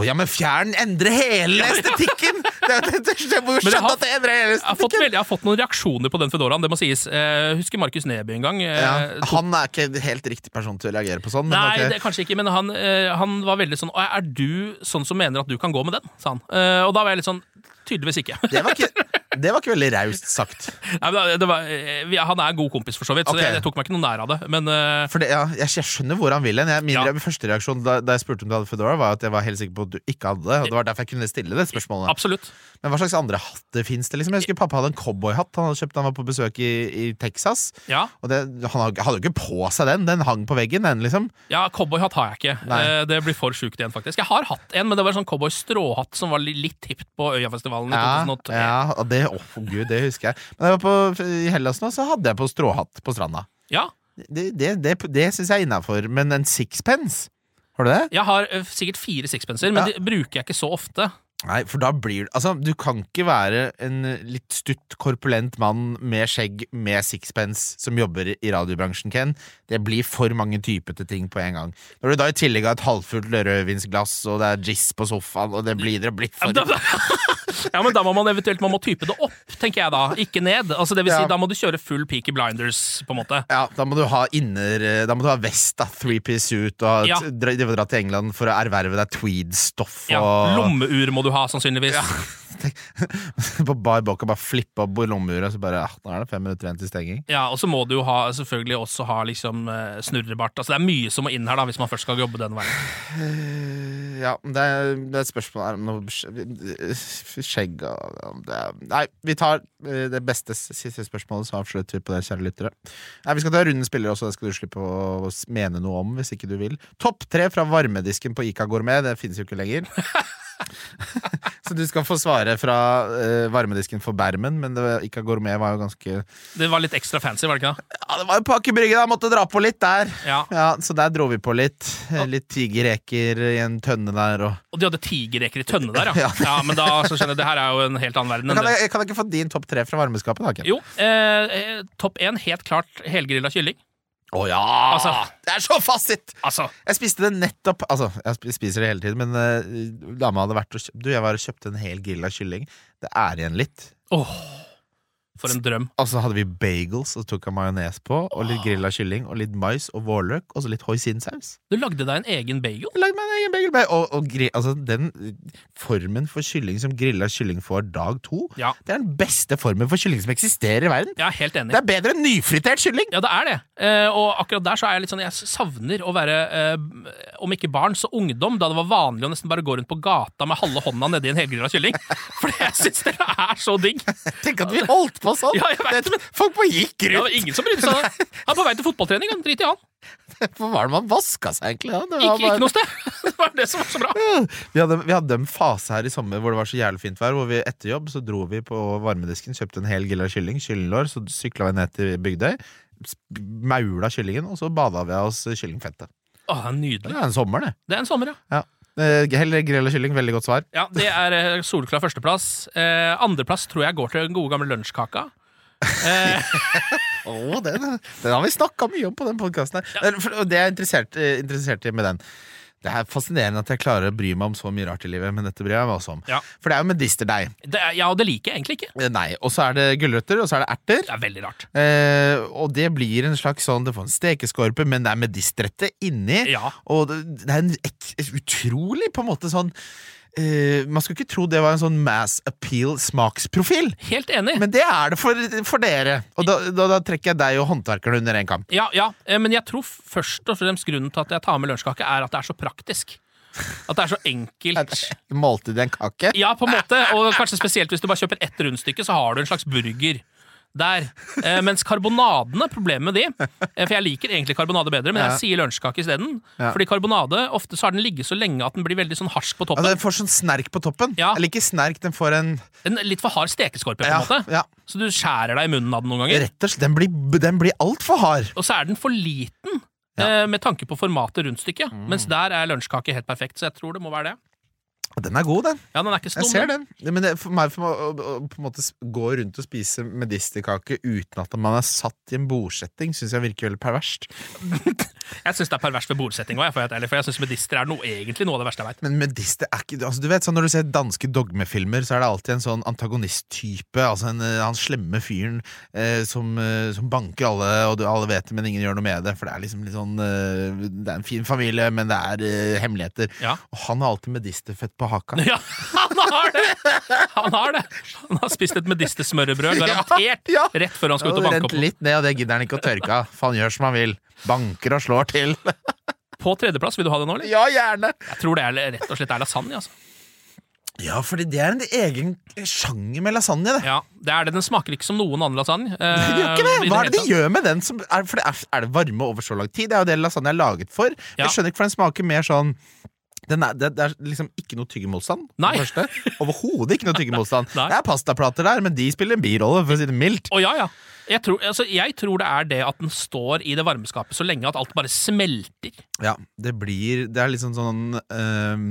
[SPEAKER 2] Å ja, men fjern endre hele estetikken! Det er jo det jeg må jo
[SPEAKER 3] Men jeg
[SPEAKER 2] skjønne
[SPEAKER 3] har-
[SPEAKER 2] at det endrer hele
[SPEAKER 3] Jeg har, fått
[SPEAKER 2] estetikken!
[SPEAKER 3] veldig, jeg har fått noen reaksjoner på den fedoraen, det må sies. Eh, husker Markus Neby en gang. eh,
[SPEAKER 2] Ja, han er ikke helt riktig person til å reagere på sånn. Men
[SPEAKER 3] Nei,
[SPEAKER 2] ok.
[SPEAKER 3] det, kanskje ikke, men han, eh, han var veldig sånn «Å, Er du sånn som mener at du kan gå med den? sa han. Eh, og da var jeg litt sånn Tydeligvis ikke.
[SPEAKER 2] det, var ikke, det var ikke veldig raust sagt.
[SPEAKER 3] Nei, men det var, eh, vi- han er en god kompis, for så vidt, så
[SPEAKER 2] Ok.
[SPEAKER 3] jeg, jeg tok meg ikke noe nær av det. Men eh,
[SPEAKER 2] For det, ja, jeg, jeg skjønner hvor han vil hen. Jeg- Min
[SPEAKER 3] Ja.
[SPEAKER 2] re- første reaksjon da, da jeg spurte om du hadde Foodora, var at jeg var helt sikker på at du ikke hadde det. Og det var derfor jeg kunne stille det spørsmålet.
[SPEAKER 3] absolutt.
[SPEAKER 2] Men hva slags andre hatter fins det? liksom? Jeg husker pappa hadde en cowboyhatt han hadde kjøpt da han var på besøk i, i Texas.
[SPEAKER 3] Ja,
[SPEAKER 2] Og det, han hadde jo ikke på seg den. Den hang på veggen, den, liksom.
[SPEAKER 3] ja cowboyhatt har jeg ikke.
[SPEAKER 2] Nei.
[SPEAKER 3] Eh, det blir for sjukt igjen, faktisk. Jeg har hatt en, men det var en sånn cowboystråhatt som var li- litt hipt på Øyafestivalen i
[SPEAKER 2] Ja,
[SPEAKER 3] 2003.
[SPEAKER 2] ja og det, å, gud, det husker jeg. Men da jeg var på, i Hellas nå, så hadde jeg på stråhatt på stranda.
[SPEAKER 3] Ja,
[SPEAKER 2] Det, det, det, det syns jeg er innafor. Men en sixpence? Har du det?
[SPEAKER 3] Jeg har eh, sikkert fire sixpenser, men
[SPEAKER 2] Ja.
[SPEAKER 3] de bruker jeg ikke så ofte.
[SPEAKER 2] Nei, for da blir Altså, du kan ikke være en eh, litt stutt, korpulent mann med skjegg med sixpence som jobber i radiobransjen, Ken. Det blir for mange typete ting på en gang. Når du da i tillegg har et halvfullt rødvinsglass, og det er jizz på sofaen, og det blir det blitt for
[SPEAKER 3] Ja, men da- ja, men da må man eventuelt man må type det opp, tenker jeg da. Ikke ned. Altså, det vil si,
[SPEAKER 2] Ja.
[SPEAKER 3] da må du kjøre full peaky blinders, på en måte.
[SPEAKER 2] Ja, da må du ha inner eh, Da må du ha vest, da. Three-piece suit. Og ha et-
[SPEAKER 3] Ja.
[SPEAKER 2] dra, de må dra til England for å erverve deg tweed-stoff.
[SPEAKER 3] Ja,
[SPEAKER 2] og
[SPEAKER 3] lommeur må du ha, sannsynligvis.
[SPEAKER 2] på bar bok og bare flippe opp lommeuret, og så bare ah, Nå er det fem minutter igjen til stenging.
[SPEAKER 3] Ja, Og så må du jo ha, selvfølgelig også ha liksom eh, snurrebart. Altså, det er mye som må inn her, da, hvis man først skal jobbe den veien.
[SPEAKER 2] Eh, Ja, men det er, det er et spørsmål her om noe skje- skjegg og om det er, Nei, vi tar eh, det beste s- siste spørsmålet, så avslutter vi på det, kjære lyttere. Nei, Vi skal ta runden spillere også, det skal du slippe å s- mene noe om hvis ikke du vil. Topp tre fra varmedisken på Ica Gourmet, det finnes jo ikke lenger. så du skal få svare fra eh, varmedisken for Bermen, men det, Ica Gourmet var jo ganske
[SPEAKER 3] Det var litt ekstra fancy, var det ikke det?
[SPEAKER 2] Ja, det var jo på Aker Brygge, da! Måtte dra på litt der.
[SPEAKER 3] Ja.
[SPEAKER 2] Ja, Så der dro vi på litt. Eh, Litt tigerreker i en tønne der og
[SPEAKER 3] Og de hadde tigerreker i tønne der,
[SPEAKER 2] Ja.
[SPEAKER 3] ja. ja men da så skjønner jeg, det her er jo en helt annen verden. enn
[SPEAKER 2] Kan
[SPEAKER 3] det.
[SPEAKER 2] jeg, kan jeg ikke få din topp tre fra varmeskapet, da? Ken?
[SPEAKER 3] Jo, eh, eh, topp én, helt klart helgrilla kylling.
[SPEAKER 2] Å ja!
[SPEAKER 3] Altså-
[SPEAKER 2] det er så fasit!
[SPEAKER 3] Altså,
[SPEAKER 2] Jeg spiste det nettopp Altså, jeg sp- spiser det hele tiden, men eh, dama hadde vært og kjøpt Du, jeg var og kjøpte en hel grilla kylling. Det er igjen litt.
[SPEAKER 3] åh, for en drøm.
[SPEAKER 2] Og så hadde vi bagels, og så tok jeg majones på, og litt grilla kylling, og litt mais og vårløk, og så litt hoisinsaus.
[SPEAKER 3] Du lagde deg en egen bagel?
[SPEAKER 2] Jeg Lagde meg en egen bagel. bare- Og, og gri, altså, den formen for kylling som grilla kylling får dag to,
[SPEAKER 3] Ja.
[SPEAKER 2] det er den beste formen for kylling som eksisterer i verden.
[SPEAKER 3] Jeg er helt enig.
[SPEAKER 2] Det er bedre enn nyfritert kylling!
[SPEAKER 3] Ja, det er det. Eh, og akkurat der så er jeg litt sånn Jeg savner å være, eh, om ikke barn, så ungdom, da det var vanlig å nesten bare gå rundt på gata med halve hånda nedi en helgrilla kylling. For jeg syns dere er så digg.
[SPEAKER 2] Tenk at vi holdt på sånn!
[SPEAKER 3] Ja, jeg vet det, men-
[SPEAKER 2] Folk bare gikk
[SPEAKER 3] Det
[SPEAKER 2] rundt!
[SPEAKER 3] var ingen som brydde seg. Han er på vei til fotballtrening, han. Drit i han.
[SPEAKER 2] Hvor var det man vaska seg, egentlig? da? Det var
[SPEAKER 3] Ikke, ikke
[SPEAKER 2] bare-
[SPEAKER 3] noe sted. Det var det som var så bra.
[SPEAKER 2] vi, hadde, vi hadde en fase her i sommer hvor det var så jævlig fint vær. Hvor vi etter jobb så dro vi på varmedisken, kjøpte en hel grilla kylling, kyllinglår, så sykla vi ned til Bygdøy. sp- Maula kyllingen, og så bada vi av oss kyllingfettet.
[SPEAKER 3] Å, det er
[SPEAKER 2] Det
[SPEAKER 3] nydelig.
[SPEAKER 2] er en sommer, det.
[SPEAKER 3] Det er en sommer, ja.
[SPEAKER 2] Ja. Eh, Heller grill og kylling. Veldig godt svar.
[SPEAKER 3] Ja, det er eh, solklar førsteplass. Eh, andreplass tror jeg går til den gode gamle lunsjkaka. Eh,
[SPEAKER 2] Å, den, den har vi snakka mye om på den podkasten her. Eh, for- Og det jeg er interessert, eh, interessert i med den Det er fascinerende at jeg klarer å bry meg om så mye rart i livet, men dette bryr jeg meg også om.
[SPEAKER 3] Ja.
[SPEAKER 2] For det er jo medisterdeig.
[SPEAKER 3] det er, ja, og det liker jeg egentlig ikke.
[SPEAKER 2] Eh, Nei. Og så er det gulrøtter, og så er det erter.
[SPEAKER 3] Det er veldig rart.
[SPEAKER 2] Eh, og det blir en slags sånn Det får en stekeskorpe, men det er medistrette inni.
[SPEAKER 3] Ja.
[SPEAKER 2] Og det, det er en ek, et utrolig på en måte sånn eh, Man skulle ikke tro det var en sånn mass appeal-smaksprofil,
[SPEAKER 3] Helt enig.
[SPEAKER 2] men det er det for, for dere. Og da, da, da trekker jeg deg og håndverkerne under én kamp.
[SPEAKER 3] Ja, ja, eh, men jeg tror først og fremst grunnen til at jeg tar med lunsjkake, er at det er så praktisk. At det er så enkelt.
[SPEAKER 2] Måltid i en kake.
[SPEAKER 3] Ja, på en måte, og kanskje spesielt hvis du bare kjøper ett rundstykke, så har du en slags burger der. Eh, mens karbonadene, problemet med de eh, For jeg liker egentlig karbonade bedre, men jeg sier lunsjkake isteden. Fordi karbonade, ofte så har den ligget så lenge at den blir veldig sånn harsk på
[SPEAKER 2] Ja,
[SPEAKER 3] toppen.
[SPEAKER 2] den får sånn snerk på toppen.
[SPEAKER 3] Ja.
[SPEAKER 2] Eller ikke snerk, den får en
[SPEAKER 3] En litt for hard stekeskorpe, på en
[SPEAKER 2] Ja,
[SPEAKER 3] måte.
[SPEAKER 2] ja.
[SPEAKER 3] Så du skjærer deg i munnen av den noen ganger.
[SPEAKER 2] Rett og slett, den blir, den blir altfor hard.
[SPEAKER 3] Og så er den for liten. eh, Med tanke på formatet rundstykket.
[SPEAKER 2] Mm.
[SPEAKER 3] Mens der er lunsjkake helt perfekt. Så jeg tror det må være det.
[SPEAKER 2] Og Den er god, den.
[SPEAKER 3] Ja, den er ikke så
[SPEAKER 2] Jeg
[SPEAKER 3] dum,
[SPEAKER 2] ser
[SPEAKER 3] den.
[SPEAKER 2] den. Men det, for meg for meg, å, å, å på en måte s- gå rundt og spise medisterkake uten at man er satt i en bordsetting, syns jeg virker veldig perverst.
[SPEAKER 3] Jeg syns det er perverst ved bordsetting òg, for å være helt ærlig, for jeg syns medister er noe, egentlig noe av det verste jeg veit.
[SPEAKER 2] Men medister er ikke altså, Du vet sånn Når du ser danske dogmefilmer, så er det alltid en sånn antagonisttype. Altså en, eh, han slemme fyren eh, som, eh, som banker alle, og du, alle vet det, men ingen gjør noe med det. For det er liksom litt sånn eh, Det er en fin familie, men det er eh, hemmeligheter.
[SPEAKER 3] Ja.
[SPEAKER 2] Og han har alltid medisterfett på haka.
[SPEAKER 3] Ja, han har det! Han har det Han har spist et medistersmørrebrød, garantert,
[SPEAKER 2] Ja, ja.
[SPEAKER 3] rett før han skal ut
[SPEAKER 2] Og
[SPEAKER 3] og
[SPEAKER 2] det
[SPEAKER 3] banke
[SPEAKER 2] rent
[SPEAKER 3] opp.
[SPEAKER 2] litt ned, og det gidder han ikke å tørke av. For han gjør som han vil. Banker og slår til.
[SPEAKER 3] På tredjeplass, vil du ha det nå, eller?
[SPEAKER 2] Ja, gjerne!
[SPEAKER 3] Jeg tror det er rett og slett er lasagne, altså.
[SPEAKER 2] Ja, fordi det er en egen sjanger med lasagne, det.
[SPEAKER 3] Ja, det er det. Den smaker ikke som noen annen lasagne. eh,
[SPEAKER 2] Det gjør ikke det! Hva er det de gjør med den? Som er, for det er, er det varme over så lang tid? Det er jo det lasagne er laget for.
[SPEAKER 3] Ja.
[SPEAKER 2] Jeg skjønner ikke, for den smaker mer sånn den er, det, det er liksom ikke noe tyggemotstand. for
[SPEAKER 3] Nei.
[SPEAKER 2] det første. Overhodet ikke noe tyggemotstand.
[SPEAKER 3] Nei.
[SPEAKER 2] Det er pastaplater der, men de spiller en birolle, for å si det mildt.
[SPEAKER 3] Å ja, ja. Jeg tror, altså, jeg tror det er det at den står i det varmeskapet så lenge at alt bare smelter.
[SPEAKER 2] Ja, det blir Det er liksom sånn ehm,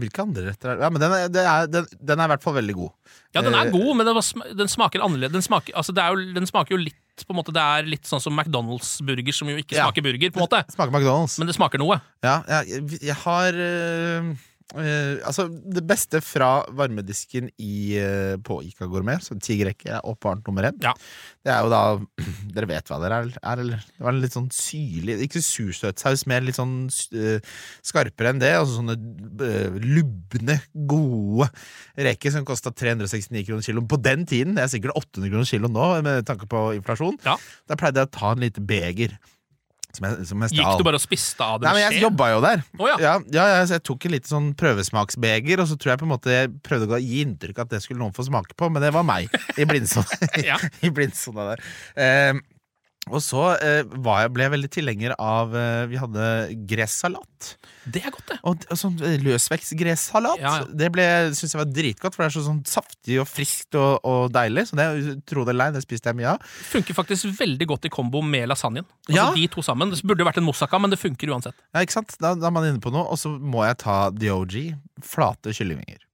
[SPEAKER 2] Hvilke andre retter er det? Ja, men den er, det er, den, den er i hvert fall veldig god.
[SPEAKER 3] Ja, den er
[SPEAKER 2] Eh,
[SPEAKER 3] god, men den, var, sm- den smaker annerledes. Den smaker, altså, det er jo, den smaker jo litt på en måte, Det er litt sånn som McDonald's-burger, som jo ikke
[SPEAKER 2] Ja.
[SPEAKER 3] smaker burger, på en måte.
[SPEAKER 2] Smaker McDonald's.
[SPEAKER 3] Men det smaker noe.
[SPEAKER 2] Ja, jeg, jeg har øh, øh, Altså, det beste fra varmedisken i, øh, på Ica Gourmet, så ti greker er oppvarmt nummer én.
[SPEAKER 3] Ja.
[SPEAKER 2] Det er jo da Dere vet hva dere er, er eller? Det var en litt sånn syrlig Ikke sursøtsaus, mer litt sånn øh, skarpere enn det. Altså sånne øh, lubne, gode reker som kosta 369 kroner kiloen på den tiden. Det er sikkert 800 kroner kiloen nå, med tanke på inflasjon.
[SPEAKER 3] Ja.
[SPEAKER 2] Da pleide jeg å ta en liten beger. Som jeg, som jeg
[SPEAKER 3] Gikk
[SPEAKER 2] stjal.
[SPEAKER 3] du bare og spiste av det
[SPEAKER 2] Nei, men jeg jobba jo der.
[SPEAKER 3] Å, ja.
[SPEAKER 2] Ja, ja, ja, så jeg tok en liten sånn prøvesmaksbeger, og så tror jeg på en måte jeg prøvde å gi inntrykk av at det skulle noen få smake på, men det var meg i blindsona,
[SPEAKER 3] Ja.
[SPEAKER 2] i blindsona der. Eh, og så eh, var jeg, ble jeg veldig tilhenger av eh, Vi hadde gressalat.
[SPEAKER 3] Det er godt, det.
[SPEAKER 2] Og, og sånn eh, løsvekstgressalat.
[SPEAKER 3] Ja, ja.
[SPEAKER 2] Det ble, syns jeg var dritgodt, for det er så sånn saftig og friskt og, og deilig. Så det, tro det eller ei, det spiste jeg mye av.
[SPEAKER 3] Funker faktisk veldig godt i kombo med lasagnen. Altså
[SPEAKER 2] Ja.
[SPEAKER 3] De to sammen. Det burde jo vært en moussaka, men det funker uansett.
[SPEAKER 2] Ja, ikke sant? Da, da er man inne på noe, og så må jeg ta DOG. Flate kyllingvinger.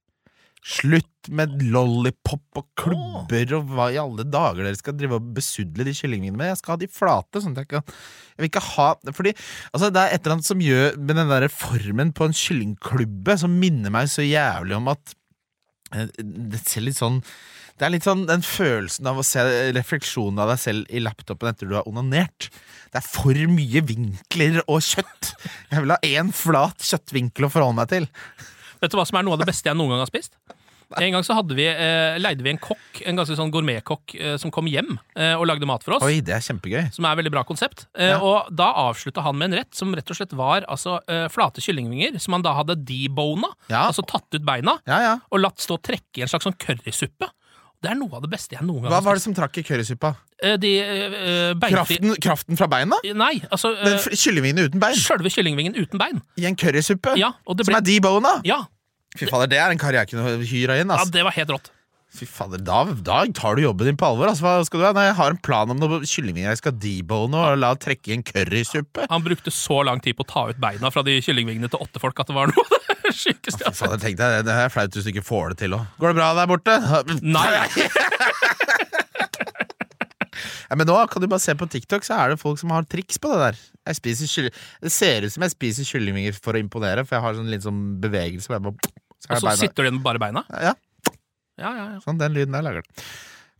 [SPEAKER 2] Slutt med lollipop og klubber og hva i alle dager dere skal drive og besudle de kyllingvingene med. Jeg skal ha de flate. sånn at Jeg, kan, jeg vil ikke ha Fordi altså, det er et eller annet som gjør med den der formen på en kyllingklubbe som minner meg så jævlig om at eh, det ser litt sånn det er litt sånn den følelsen av å se refleksjonen av deg selv i laptopen etter du har onanert. Det er for mye vinkler og kjøtt. Jeg vil ha én flat kjøttvinkel å forholde meg til.
[SPEAKER 3] Vet du hva som er noe av det beste jeg noen gang har spist? En gang så hadde vi, eh, leide vi en kokk, en ganske sånn gourmetkokk, eh, som kom hjem eh, og lagde mat for oss.
[SPEAKER 2] Oi, det er kjempegøy.
[SPEAKER 3] Som er et veldig bra konsept. Eh,
[SPEAKER 2] Ja.
[SPEAKER 3] Og da avslutta han med en rett som rett og slett var altså, eh, flate kyllingvinger, som han da hadde debona,
[SPEAKER 2] Ja.
[SPEAKER 3] altså tatt ut beina,
[SPEAKER 2] Ja, ja.
[SPEAKER 3] og latt stå og trekke i en slags sånn currysuppe. Det er noe av det beste jeg noen gang
[SPEAKER 2] Hva
[SPEAKER 3] har
[SPEAKER 2] var
[SPEAKER 3] spist.
[SPEAKER 2] det som trakk i currysuppa?
[SPEAKER 3] Eh, De eh, beinfri...
[SPEAKER 2] Kraften, kraften fra beina?
[SPEAKER 3] Nei, altså
[SPEAKER 2] Den
[SPEAKER 3] eh,
[SPEAKER 2] fr- Kyllingvingene uten bein?
[SPEAKER 3] Sjølve kyllingvingen uten bein.
[SPEAKER 2] I en currysuppe?
[SPEAKER 3] Ja, og det
[SPEAKER 2] Som
[SPEAKER 3] ble
[SPEAKER 2] er debona?
[SPEAKER 3] Ja,
[SPEAKER 2] Fy fader, det er en karriere jeg kunne hyra inn.
[SPEAKER 3] ja
[SPEAKER 2] ass.
[SPEAKER 3] det var helt rått.
[SPEAKER 2] Fy fader, da, da tar du jobben din på alvor. Altså, hva skal du ha? Nei, jeg har en plan om noe kyllingvinger jeg skal debone og la trekke i en currysuppe.
[SPEAKER 3] Han brukte så lang tid på å ta ut beina fra de kyllingvingene til åtte folk at det var noe av det sjukeste jeg
[SPEAKER 2] Fy
[SPEAKER 3] har sett.
[SPEAKER 2] Fader, tenk deg, det- det er flaut hvis du ikke får det til òg. Går det bra der borte?
[SPEAKER 3] Nei,
[SPEAKER 2] Ja, men nå kan du bare se på TikTok, så er det folk som har triks på det der. Jeg spiser kylling- Det ser ut som jeg spiser kyllingvinger for å imponere, for jeg har sånn litt sånn bevegelse. hvor Jeg bare, så er
[SPEAKER 3] Og så
[SPEAKER 2] beina-
[SPEAKER 3] sitter du igjen med bare beina?
[SPEAKER 2] Ja,
[SPEAKER 3] Ja, ja, ja.
[SPEAKER 2] Sånn, den lyden der lager den.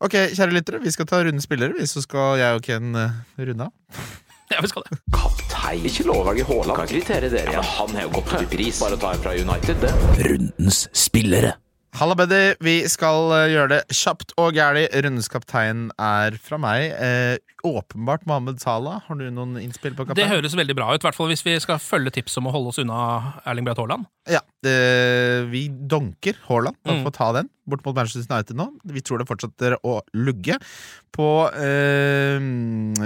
[SPEAKER 2] Ok, kjære lyttere, vi skal ta runde spillere, vi, så skal jeg og Ken eh, runde av.
[SPEAKER 3] ja vi skal det.
[SPEAKER 1] Kaptein. Ikke lovverket Haaland. Kan ikke kritere dere. Ja, men han har jo gått opp i pris. Bare å ta en fra United, det. Rundens spillere.
[SPEAKER 2] Halla, Beddy. Vi skal eh, gjøre det kjapt og gæli. Rundens kaptein er fra meg. Eh, åpenbart Mohammed Salah. Har du noen innspill på
[SPEAKER 3] Det
[SPEAKER 2] kaptein?
[SPEAKER 3] høres veldig bra ut, i hvert fall hvis vi skal følge tips om å holde oss unna Erling Braut Haaland.
[SPEAKER 2] Ja. eh, vi donker Haaland. Bare for å ta den bort mot Manchester United nå. Vi tror det fortsetter å lugge. På eh,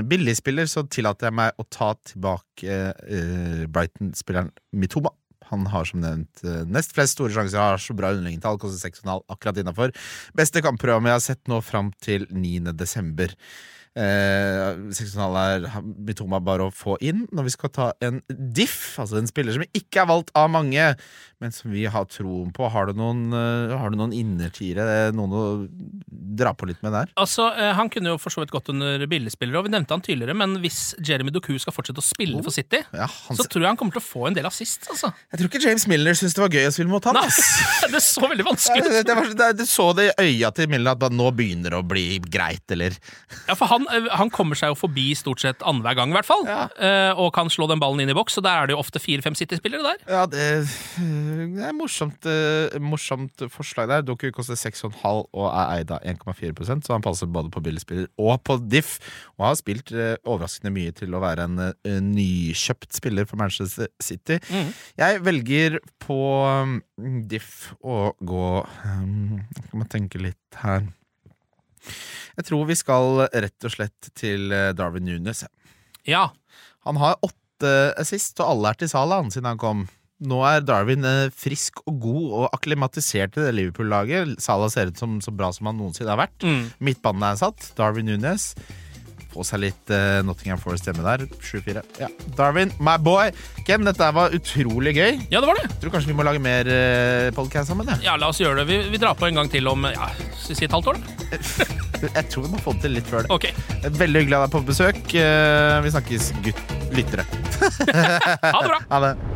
[SPEAKER 2] billigspiller så tillater jeg meg å ta tilbake eh, Brighton-spilleren Mitoma. Han har som nevnt eh, nest flest store sjanser, har så bra underliggende tall, koster 6,5 akkurat innafor. Beste kampprogrammet jeg har sett nå fram til 9. desember. Eh, 6,5 er Mitoma bare å få inn. Når vi skal ta en diff, altså en spiller som ikke er valgt av mange, men som vi har troen på, har du noen, eh, har du noen innertiere? eh, Noen å dra på litt med der?
[SPEAKER 3] Altså, eh, Han kunne jo for så vidt gått under billigspillere, og vi nevnte han tidligere, men hvis Jeremy Doku skal fortsette å spille for City,
[SPEAKER 2] Oh, Ja, han,
[SPEAKER 3] så tror jeg han kommer til å få en del assist, altså.
[SPEAKER 2] jeg tror ikke James Milner syntes det var gøy å spille mot han.
[SPEAKER 3] Nei,
[SPEAKER 2] ass.
[SPEAKER 3] det så veldig
[SPEAKER 2] Nei,
[SPEAKER 3] vanskelig ut.
[SPEAKER 2] det, det, var, det, det så det i øya til Milner at bare, nå begynner det å bli greit, eller
[SPEAKER 3] Ja, for han, eh, han kommer seg jo forbi stort sett annenhver gang, i hvert fall, eh, og kan slå den ballen inn i boks, og der er det jo ofte fire-fem City-spillere der.
[SPEAKER 2] Ja, det, det er morsomt, eh, morsomt forslag der. Doku koster 6,5 og er eid av 1,4 så han passer både på billigspiller og på diff. Og har spilt eh, overraskende mye til å være en eh, nykjøpt spiller for Manchester City. Jeg velger på mm, diff å gå um, Skal man tenke litt her Jeg tror vi skal rett og slett til eh, Darwin Nunes.
[SPEAKER 3] Ja,
[SPEAKER 2] Han har åtte assist, og alle er til Salah han, siden han kom. Nå er Darwin eh, frisk og god og akklimatisert til det Liverpool-laget. Salah ser ut som så bra som han noensinne har vært. Midtbanen er satt. Darwin Nunes. Få seg litt eh, Nottingham Forest-stemme der. 7-4. Ja. Darwin, my boy! Ken, dette her var utrolig gøy.
[SPEAKER 3] ja det var det.
[SPEAKER 2] Tror kanskje vi må lage mer uh, podcast sammen? Ja.
[SPEAKER 3] Ja, la oss gjøre det. Vi, vi drar på en gang til om ja, skal vi si et halvt år. da?
[SPEAKER 2] Jeg tror vi må få det til litt før det.
[SPEAKER 3] Ok.
[SPEAKER 2] Veldig hyggelig å ha deg på besøk. Eh, vi snakkes, gutt lyttere.
[SPEAKER 3] Ha det bra.
[SPEAKER 2] Ha det.